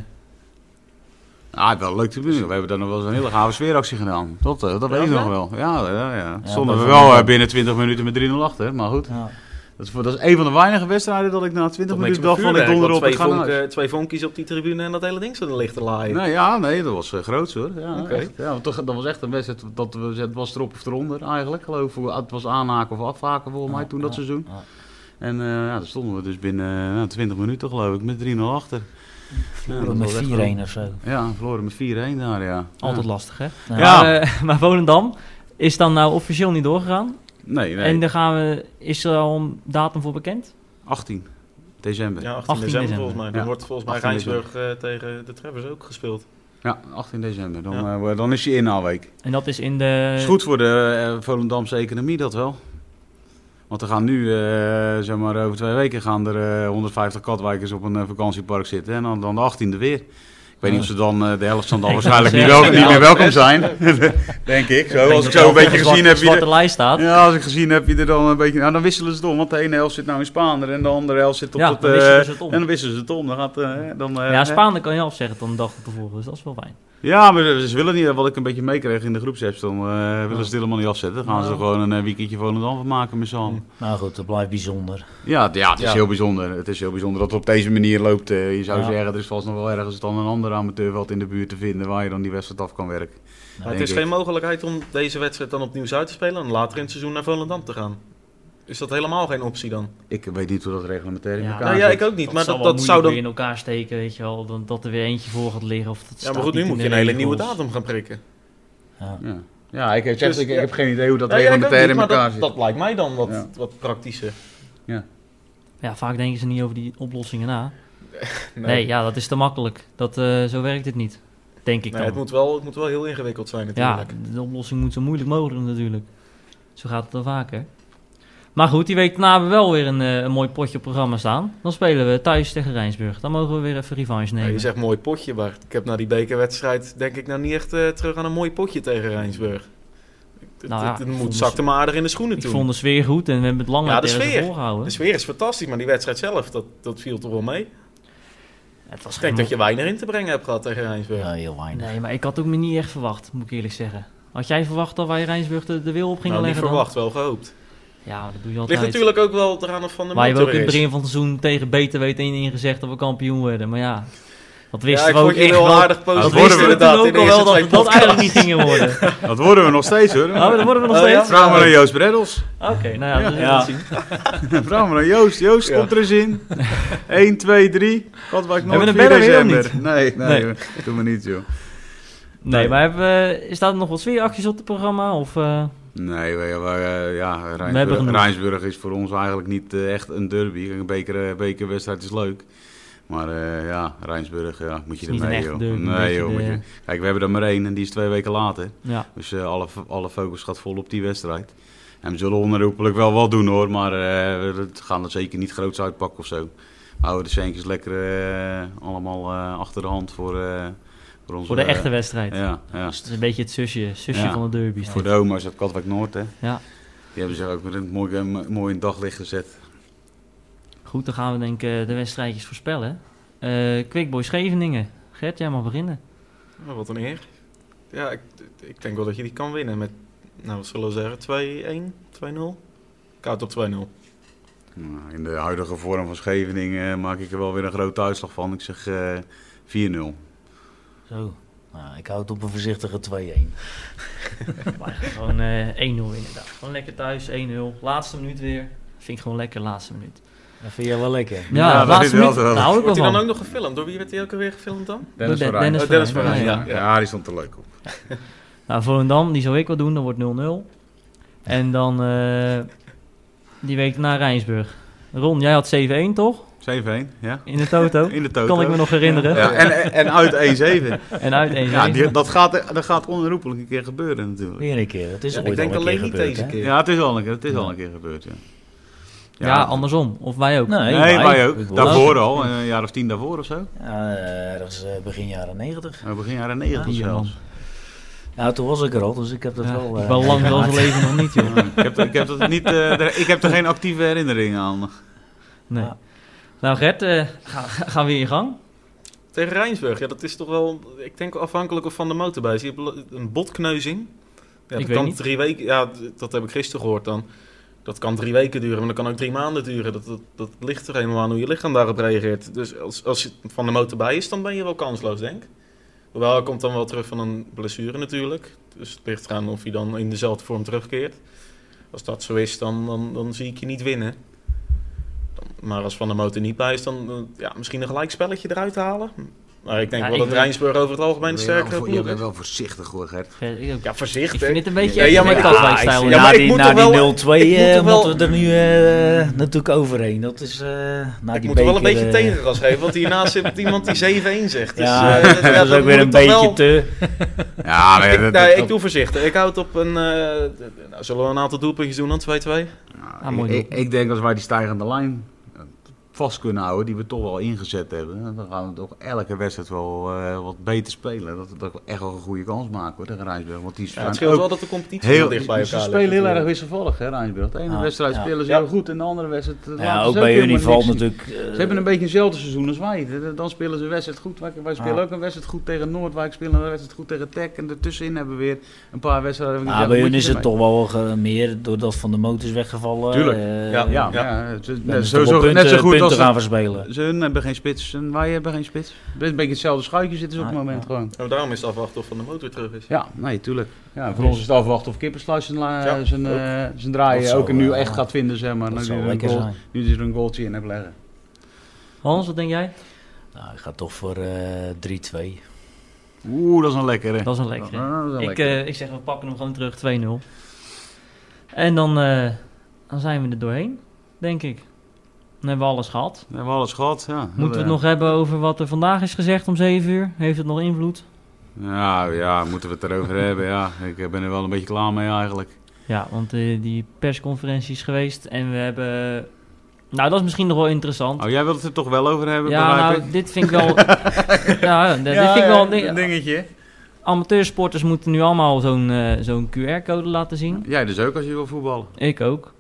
Ah, wel leuk te doen. We hebben daar nog wel eens een hele gave sfeeractie gedaan. Dat, eh, dat weet ik ja? nog wel. Ja, ja, ja. Ja, Stonden dat we vond ik wel eh, wel. binnen 20 minuten met 3-0 achter. Maar goed, Ja. dat is, voor- dat is een van de weinige wedstrijden dat ik na 20 Dat minuten niks dacht met van ik vuurwerk, donder want op en ga twee, naar vonk, huis. eh, twee vonkies op die tribune en dat hele ding zo licht te laaien. Nee, ja, nee, dat was eh, groots hoor. Ja, Oké. echt. ja, want toch- dat was echt een wedstrijd, dat we- het was erop of eronder eigenlijk geloof ik. Het was aanhaken of afhaken volgens mij toen dat seizoen. ja. En eh ja, daar stonden we dus binnen eh, nou, 20 minuten geloof ik met 3-0 achter. Ja, dat met was echt 4-1 of zo. goed. Ja, verloren met 4-1 daar ja. altijd ja. lastig, hè? Ja. Ja. Maar, eh, maar Volendam is dan nou officieel niet doorgegaan. Nee, nee. En dan gaan we... Is er al een datum voor bekend? 18 december. Ja. Ja, 18 18 december, december. volgens mij. Dan Ja. wordt volgens mij 18 Rijnsburg eh, tegen de Trevers ook gespeeld. 18 december. Dan, Ja. eh, dan is je inhaalweek. En dat is in de... is goed voor de eh, Volendamse economie, dat wel. Want er gaan nu, eh, zeg maar, over twee weken gaan er eh, 150 katwijkers op een eh, vakantiepark zitten. En dan, dan de 18e weer. Ik weet niet of ze dan, eh, de helft zal dan Ik waarschijnlijk wou niet, wel, zeggen, niet meer welkom zijn. Denk ik. Zo, als ik zo een beetje gezien heb wie Zwarte er, lijst staat. ja, als ik gezien heb wie er dan een beetje... Nou, dan wisselen ze het om. Want de ene helft zit nou in Spaander en de andere helft zit op Ja, het... dan wisselen eh, ze het om. En dan wisselen ze het om. Dan gaat, eh, dan, eh, Ja, hè. Spaanen kan je afzeggen dan de dag tevoren. Dus dat is wel fijn. Ja, maar ze ze willen niet, wat ik een beetje meekreeg in de groepsapps, dan eh, willen ze het helemaal niet afzetten. Dan gaan ze er gewoon een eh, weekendje Volendam van maken met z'n allen. Nou goed, dat blijft bijzonder. Ja, d- ja, het is Ja. heel bijzonder. Het is heel bijzonder dat het op deze manier loopt. eh. je zou Ja. zeggen, er is vast nog wel ergens dan een ander amateurveld in de buurt te vinden waar je dan die wedstrijd af kan werken. Maar het denk is ik. geen mogelijkheid om deze wedstrijd dan opnieuw uit te spelen en later in het seizoen naar Volendam te gaan. Is dat helemaal geen optie dan? Ik weet niet hoe dat reglementair in Ja. elkaar Ja, nou ja, zit. ik ook niet. maar zal dat, wel dat zou moeilijk weer dan... in elkaar steken, weet je wel. Dan, dat er weer eentje voor gaat liggen. Of dat Ja, maar staat goed, nu niet in moet je de een hele nieuwe regels. datum gaan prikken. Ja. Ja, ja ik, heb, Dus, ik, ik ja. heb geen idee hoe dat Nou ja, ik ook reglementair niet, in maar elkaar dat, zit. dat lijkt mij dan wat, Ja. wat praktischer. Ja, vaak denken ze niet over die oplossingen na. Nee, ja, dat is te makkelijk. Dat, eh, zo werkt het niet. Denk ik Nee, dan. het, moet wel, het moet wel heel ingewikkeld zijn ja, natuurlijk. de oplossing moet zo moeilijk mogelijk natuurlijk. Zo gaat het al vaker. Maar goed, die week daarna hebben we wel weer een, eh, een mooi potje op programma staan. Dan spelen we thuis tegen Rijnsburg. Dan mogen we weer even revanche Ja, nemen. je zegt mooi potje, maar ik heb na die bekerwedstrijd denk ik nou niet echt eh, terug aan een mooi potje tegen Rijnsburg. Het, Nou ja, het, het ik moed vond de zakte me aardig in de schoenen ik toen. vond de sfeer goed en we hebben het lang Ja, uit de tegen ze sfeer. volgehouden. De sfeer is fantastisch, maar die wedstrijd zelf, dat, dat viel toch wel mee? Het was Ik geen denk dat je weinig in te brengen hebt gehad tegen Rijnsburg. Ja, heel weinig. Nee, maar ik had ook me niet echt verwacht, moet ik eerlijk zeggen. Had jij verwacht dat wij Rijnsburg de, de wil op gingen nou, niet leggen? dan? verwacht, wel gehoopt. Ja, maar dat doe je Ligt altijd. natuurlijk ook wel eraan of Van de Wij hebben ook in motor het is. begin van het seizoen tegen beter weten in ingezegd dat we kampioen werden. Maar ja, dat Ja, wisten ik we ook vond je echt wel wel. aardig Dat positief worden wisten we we inderdaad toen in ook de al wel eerste dat twee we dat eigenlijk podcasts. niet gingen worden. Dat worden we nog steeds hoor. Oh, dat worden we nog Oh, ja? steeds. Vraag maar aan Joost Breddels. Oké, nou ja, dat Ja. ja. zien. Vraag maar aan Joost. Joost, Ja. komt er eens in. 1, 2, 3. Wat was ik nog? Hebben we een 4 banner weer of december. Nee, nee, Nee. doe maar niet joh. Nee, maar hebben we, staat er nog wat sfeeracties op het programma? Of, eh, Nee, we, we- eh, ja, hebben Rijnsburg, genoeg. Rijnsburg is voor ons eigenlijk niet eh, echt een derby. Een beker, eh, bekerwedstrijd is leuk. Maar eh, ja, Rijnsburg, ja, moet je Is niet ermee, een echte joh. derby, een nee, beetje joh. de- moet je- Kijk, we hebben er maar één en die is twee weken later. Ja. Dus eh, alle, alle focus gaat vol op die wedstrijd. En we zullen onherroepelijk wel wat doen hoor, maar eh, we gaan er zeker niet groots uitpakken of zo. We houden de centjes lekker eh, allemaal eh, achter de hand voor, eh, voor onze... Voor de eh, echte wedstrijd. Ja, ja. Dus het is een beetje het zusje, zusje Ja. van de derby. is Voor de dit. homo's uit Katwijk Noord, hè. Ja, Die hebben zich ook met een mooi, eh, mooi in het daglicht gezet. goed, dan gaan we denk ik eh, de wedstrijdjes voorspellen. Eh Quickboy Scheveningen. Gert, jij mag beginnen. Oh, wat een eer. Ja, ik, ik denk wel dat je die kan winnen met, nou wat zullen we zeggen, 2-1, 2-0? Koud op 2-0. Nou, in de huidige vorm van Scheveningen eh, maak ik er wel weer een grote uitslag van. Ik zeg eh, 4-0. Zo. Nou, ik houd op een voorzichtige 2-1. Maar gewoon eh, 1-0 inderdaad. Gewoon lekker thuis, 1-0. Laatste minuut weer. Vind ik gewoon lekker, laatste minuut. Dat vind jij wel lekker. Ja, dat laatste is wel minuut. zo. Daar hou ik wel Wordt hij dan van. ook nog gefilmd? Door wie werd hij ook alweer gefilmd dan? Dennis van Rijn. Oh, Dennis van Rijn, ja, ja. Ja, die stond er leuk op. Nou, Volendam, die zou ik wel doen. Dan wordt 0-0. En dan eh, die week naar Rijnsburg. Ron, jij had 7-1 toch? 7-1, ja. In de toto. In de toto. Kan ik me nog herinneren. Ja, en, en uit E 1-7. En uit 1-7. Ja, die- dat, gaat, dat gaat onherroepelijk een keer gebeuren natuurlijk. Weer een keer. Het is Ja, ooit ik denk al een alleen keer niet gebeurd, deze hè? keer. Ja, het is al een keer, het is al een keer gebeurd, ja. Ja, andersom. Of wij ook. Nee, Nee, wij Ik ook. wil Daarvoor al, een jaar of tien daarvoor of zo. Ja, eh, ergens eh, begin jaren 90. Eh, Begin jaren 90 Ja, zelfs. Nou, toen was ik er al, dus ik heb dat Ja, wel... ik eh, ben lang wel meegemaakt. zijn leven nog niet, joh. ik, heb, ik, heb dat niet, eh, er- ik heb er geen actieve herinneringen aan. Nee. Ja. Nou, Gert, eh, ga, ga- gaan we in gang? Tegen Rijnsburg, ja, dat is toch wel, ik denk wel afhankelijk of van de motor bij is. Je hebt belo- een botkneuzing. Ja, dat Ik weet kan niet. drie weken, ja, d- dat heb ik gisteren gehoord dan. Dat kan drie weken duren, maar dat kan ook drie maanden duren. Dat, dat, dat ligt er helemaal aan hoe je lichaam daarop reageert. Dus als, als je van de motor bij is, dan ben je wel kansloos, denk ik. Hoewel, hij komt dan wel terug van een blessure natuurlijk. Dus het ligt eraan of hij dan in dezelfde vorm terugkeert. Als dat zo is, dan, dan, dan zie ik je niet winnen. Dan- Maar als Van der Motor niet bij is, dan eh, ja, misschien een gelijkspelletje eruit halen. Maar ik denk Ja, wel ik dat weet- Rijnsburg over het algemeen de sterkere ploeg is. wel voorzichtig hoor, Gert. Gert, ik, ook. Ja, ik voorzichtig. vind dit een beetje Ja, ja, maar ja, ik- Katwijk-stijl. ja, ja. maar na ik die, moet na toch die 0-2 wel- ik moet eh, toch wel- moeten we er nu eh, natuurlijk overheen. Dat is... eh na Ik die moet er wel beker, een beetje eh, tegengas geven, want hiernaast zit iemand die 7-1 zegt. Dus, Ja, eh, dat is ook moet weer ik een toch beetje wel- te... Ja, maar ja, Ik, dat- nou, dat- ik doe voorzichtig. Ik houd op een... eh, d- nou, zullen we een aantal doelpuntjes doen dan? 2-2? Nou, Ah, mooi ik, ik- ik denk als wij die stijgende lijn eh, vast kunnen houden, die we toch wel ingezet hebben, dan gaan we toch elke wedstrijd wel eh, wat beter spelen. Dat, dat we echt wel een goede kans maken hoor, tegen Rijnsburg. Want die Ja, zijn het scheelt ook wel dat de competitie heel heel dicht bij elkaar Ze ligt spelen heel erg natuurlijk. wisselvallig, hè, Rijnsburg. De ene Ja, wedstrijd ja. spelen ze Ja. heel goed en de andere wedstrijd. eh, laten Ja, ze ook bij hun helemaal valt niks zien. natuurlijk... eh, Ze hebben een beetje hetzelfde seizoen als wij. D- Dan spelen ze een wedstrijd goed. Wij, wij spelen Ja. ook een wedstrijd goed tegen Noordwijk, spelen een wedstrijd goed tegen Tech. En ertussenin hebben we weer een paar wedstrijden. Ah, bij hun is het toch wel ge- meer doordat Van de Moot is weggevallen. Tuurlijk. eh, Ja, Ja, Ja. ja. het is dan net, is zo, het toch wel net zo punten- goed dus punten als het- gaan verspelen. Ze hun hebben geen spits en wij hebben geen spits. Het is een beetje hetzelfde schuitje zitten ze op het Ah, moment ja. gewoon. Nou, daarom is het afwachten of Van de Motor terug is. Ja, nee, tuurlijk. Ja, voor ons is het afwachten of Kippersluis zijn, la- Ja, zijn, eh, zijn draai Dat ook zou, nu eh, echt gaat vinden, zeg maar. Dat Nu zou die er een lekker goal- zijn. nu die er een goaltje in hebt leggen. Hans, wat denk jij? Nou, ik ga toch voor eh 3-2. Oeh, dat is een lekkere. Dat is een lekkere. Ja, dat is een Ik, lekkere. eh, ik zeg, we pakken hem gewoon terug, 2-0. En dan, eh, dan zijn we er doorheen, denk ik. Dan hebben we alles gehad. We hebben alles gehad, ja. Moeten we het nog hebben over wat er vandaag is gezegd om 7 uur? Heeft het nog invloed? Ja, ja, moeten we het erover hebben, ja. Ik eh, ben er wel een beetje klaar mee eigenlijk. Ja, want eh, die persconferentie is geweest en we hebben... Nou, dat is misschien nog wel interessant. Oh, jij wilt het er toch wel over hebben, Ja, begrijp nou, ik? dit vind ik wel... ja, nou, dit vind ik wel... een ding- dingetje. Amateursporters moeten nu allemaal zo'n eh, zo'n QR-code laten zien. Jij dus ook als je wil voetballen. Ik ook.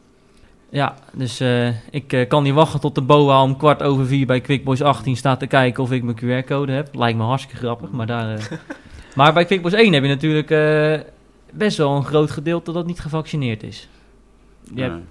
Ja, dus eh, ik eh, kan niet wachten tot de BOA om kwart over vier bij Quick Boys 18 staat te kijken of ik mijn QR-code heb. Lijkt me hartstikke grappig, maar daar... eh, maar bij Quick Boys 1 heb je natuurlijk eh, best wel een groot gedeelte dat niet gevaccineerd is. Je hebt- Nee. Eh,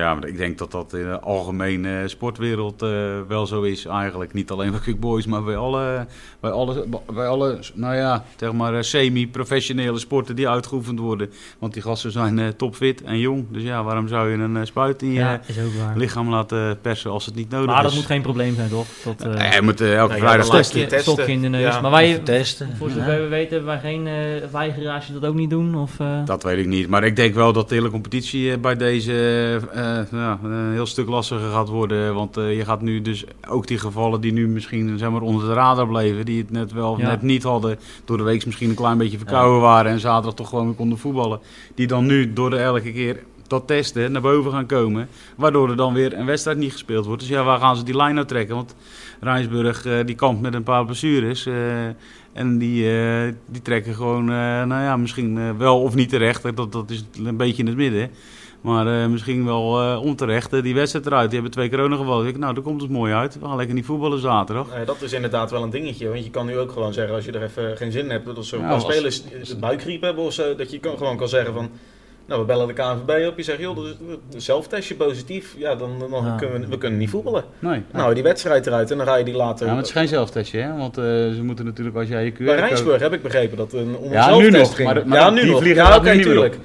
Ja, maar ik denk dat dat in de algemene sportwereld eh, wel zo is eigenlijk. Niet alleen bij Quick Boys, maar bij alle, bij alle, bij alle nou ja, zeg maar eh, semi-professionele sporten die uitgeoefend worden. Want die gasten zijn eh, topfit en jong. Dus ja, waarom zou je een eh, spuit in je ja, is ook waar. lichaam laten persen als het niet nodig Maar dat is? moet geen probleem zijn, toch? Dat, eh, Eh, je moet eh, elke Nee, ja, vrijdag testen. dat laat stokje, je testen. stokje in de neus. Ja. maar wij, testen. voor Ja. zover we weten, hebben wij geen eh weigeraars die dat ook niet doen? Of, eh, Dat weet ik niet. Maar ik denk wel dat de hele competitie eh, bij deze eh, eh, ja, een heel stuk lastiger gaat worden. Want eh, je gaat nu dus ook die gevallen die nu misschien zeg maar, onder de radar bleven, die het net wel of Ja. net niet hadden, door de week misschien een klein beetje verkouden waren en zaterdag toch gewoon weer konden voetballen, die dan nu door de elke keer dat testen naar boven gaan komen, waardoor er dan weer een wedstrijd niet gespeeld wordt. Dus ja, waar gaan ze die lijn nou trekken? Want Rijnsburg eh, die kampt met een paar blessures. eh, en die, eh, die trekken gewoon, eh, nou ja, misschien eh, wel of niet terecht. eh, Dat, dat is een beetje in het midden. Maar eh, misschien wel eh, onterecht. eh, die wedstrijd eruit. Die hebben twee corona gevallen. Ik, nou, daar komt het mooi uit. We gaan lekker niet voetballen zaterdag. Nou ja, dat is inderdaad wel een dingetje. Want je kan nu ook gewoon zeggen, als je er even geen zin in hebt, dat als zo'n Ja, paar als- spelers het buikgriep hebben of zo, dat je kan, gewoon kan zeggen van, nou we bellen de KNVB op, je zegt joh, dat is- zelf test je positief, ja dan, dan Ja. kunnen we, we kunnen niet voetballen. Nee. Nou, die wedstrijd eruit en dan ga je die later... geen zelftestje, hè? Want eh, ze moeten natuurlijk als jij je QR... Nou, Bij Rijnsburg heb ik begrepen dat een om een Ja, nu zelftest nog, ging. maar- maar ja, dat- nu die nog. vliegen Ja, gaat oké, nu niet meer tuurlijk.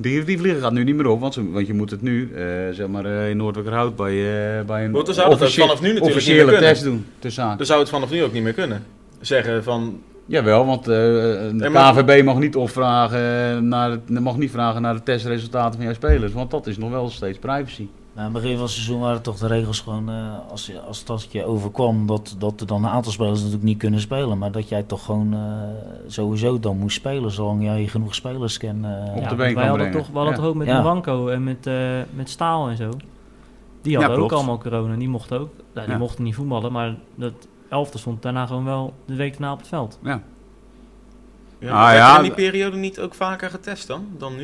Die, die vlieger gaat nu niet meer op, want, ze- want je moet het nu, eh, zeg maar, eh, in Noordwekkerhout bij, eh, bij een Want dan zou dat ook officie- vanaf nu natuurlijk niet officiële meer Dus- kunnen. test doen. Ter zake. Dan zou het vanaf nu ook niet meer kunnen. Zeggen van, Jawel, want eh, de Ja, maar- KVB mag niet, opvragen eh, naar het, mag niet vragen naar de testresultaten van jouw spelers. Want dat is nog wel steeds privacy. Nou, aan het begin van het seizoen waren toch de regels gewoon, eh, als, je- als dat je overkwam, dat, dat er dan een aantal spelers natuurlijk niet kunnen spelen. Maar dat jij toch gewoon eh, sowieso dan moest spelen, zolang jij genoeg spelers kan. eh, Op de Ja, been want kan wij hadden brengen. toch, we hadden Ja. toch ook met Ja. Wanko en met, eh, met Staal en zo. Die Ja, hadden ook klopt. allemaal corona. Die mochten ook. Nou, die Ja. mochten niet voetballen, maar dat elfte stond daarna gewoon wel de week daarna op het veld. ja, Ah, werd er ja. in die periode niet ook vaker getest dan, dan nu?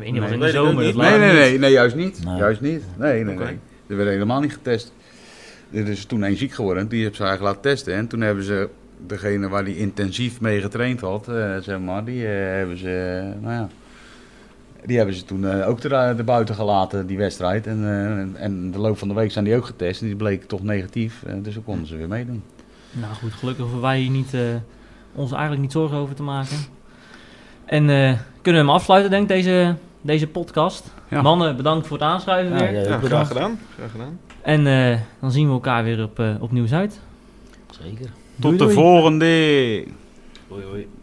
Ik weet niet wat Nee, in de weet ik ook zomer. niet. dat Nee, waren niet. nee, juist niet. Nee. niet. Nee, Oké. Er werd helemaal niet getest. Er is toen één ziek geworden, die hebben ze eigenlijk laten testen. En toen hebben ze degene waar die intensief mee getraind had, eh, zeg maar, die eh, hebben ze, eh, nou ja, die hebben ze toen eh, ook er, buiten gelaten, die wedstrijd. En, eh, en- en de loop van de week zijn die ook getest en die bleek toch negatief. eh, dus dan konden ze weer meedoen. Nou goed, gelukkig hoeven wij hier niet, eh, ons eigenlijk niet zorgen over te maken. En eh, kunnen we hem afsluiten, denk ik, deze, deze podcast. Ja. Mannen, bedankt voor het aanschuiven ja, weer. ja, Ja, bedankt. graag gedaan. Graag gedaan. En eh, dan zien we elkaar weer op, eh, op Nieuws uit. Zeker. Doei, doei. volgende! Hoi, hoi.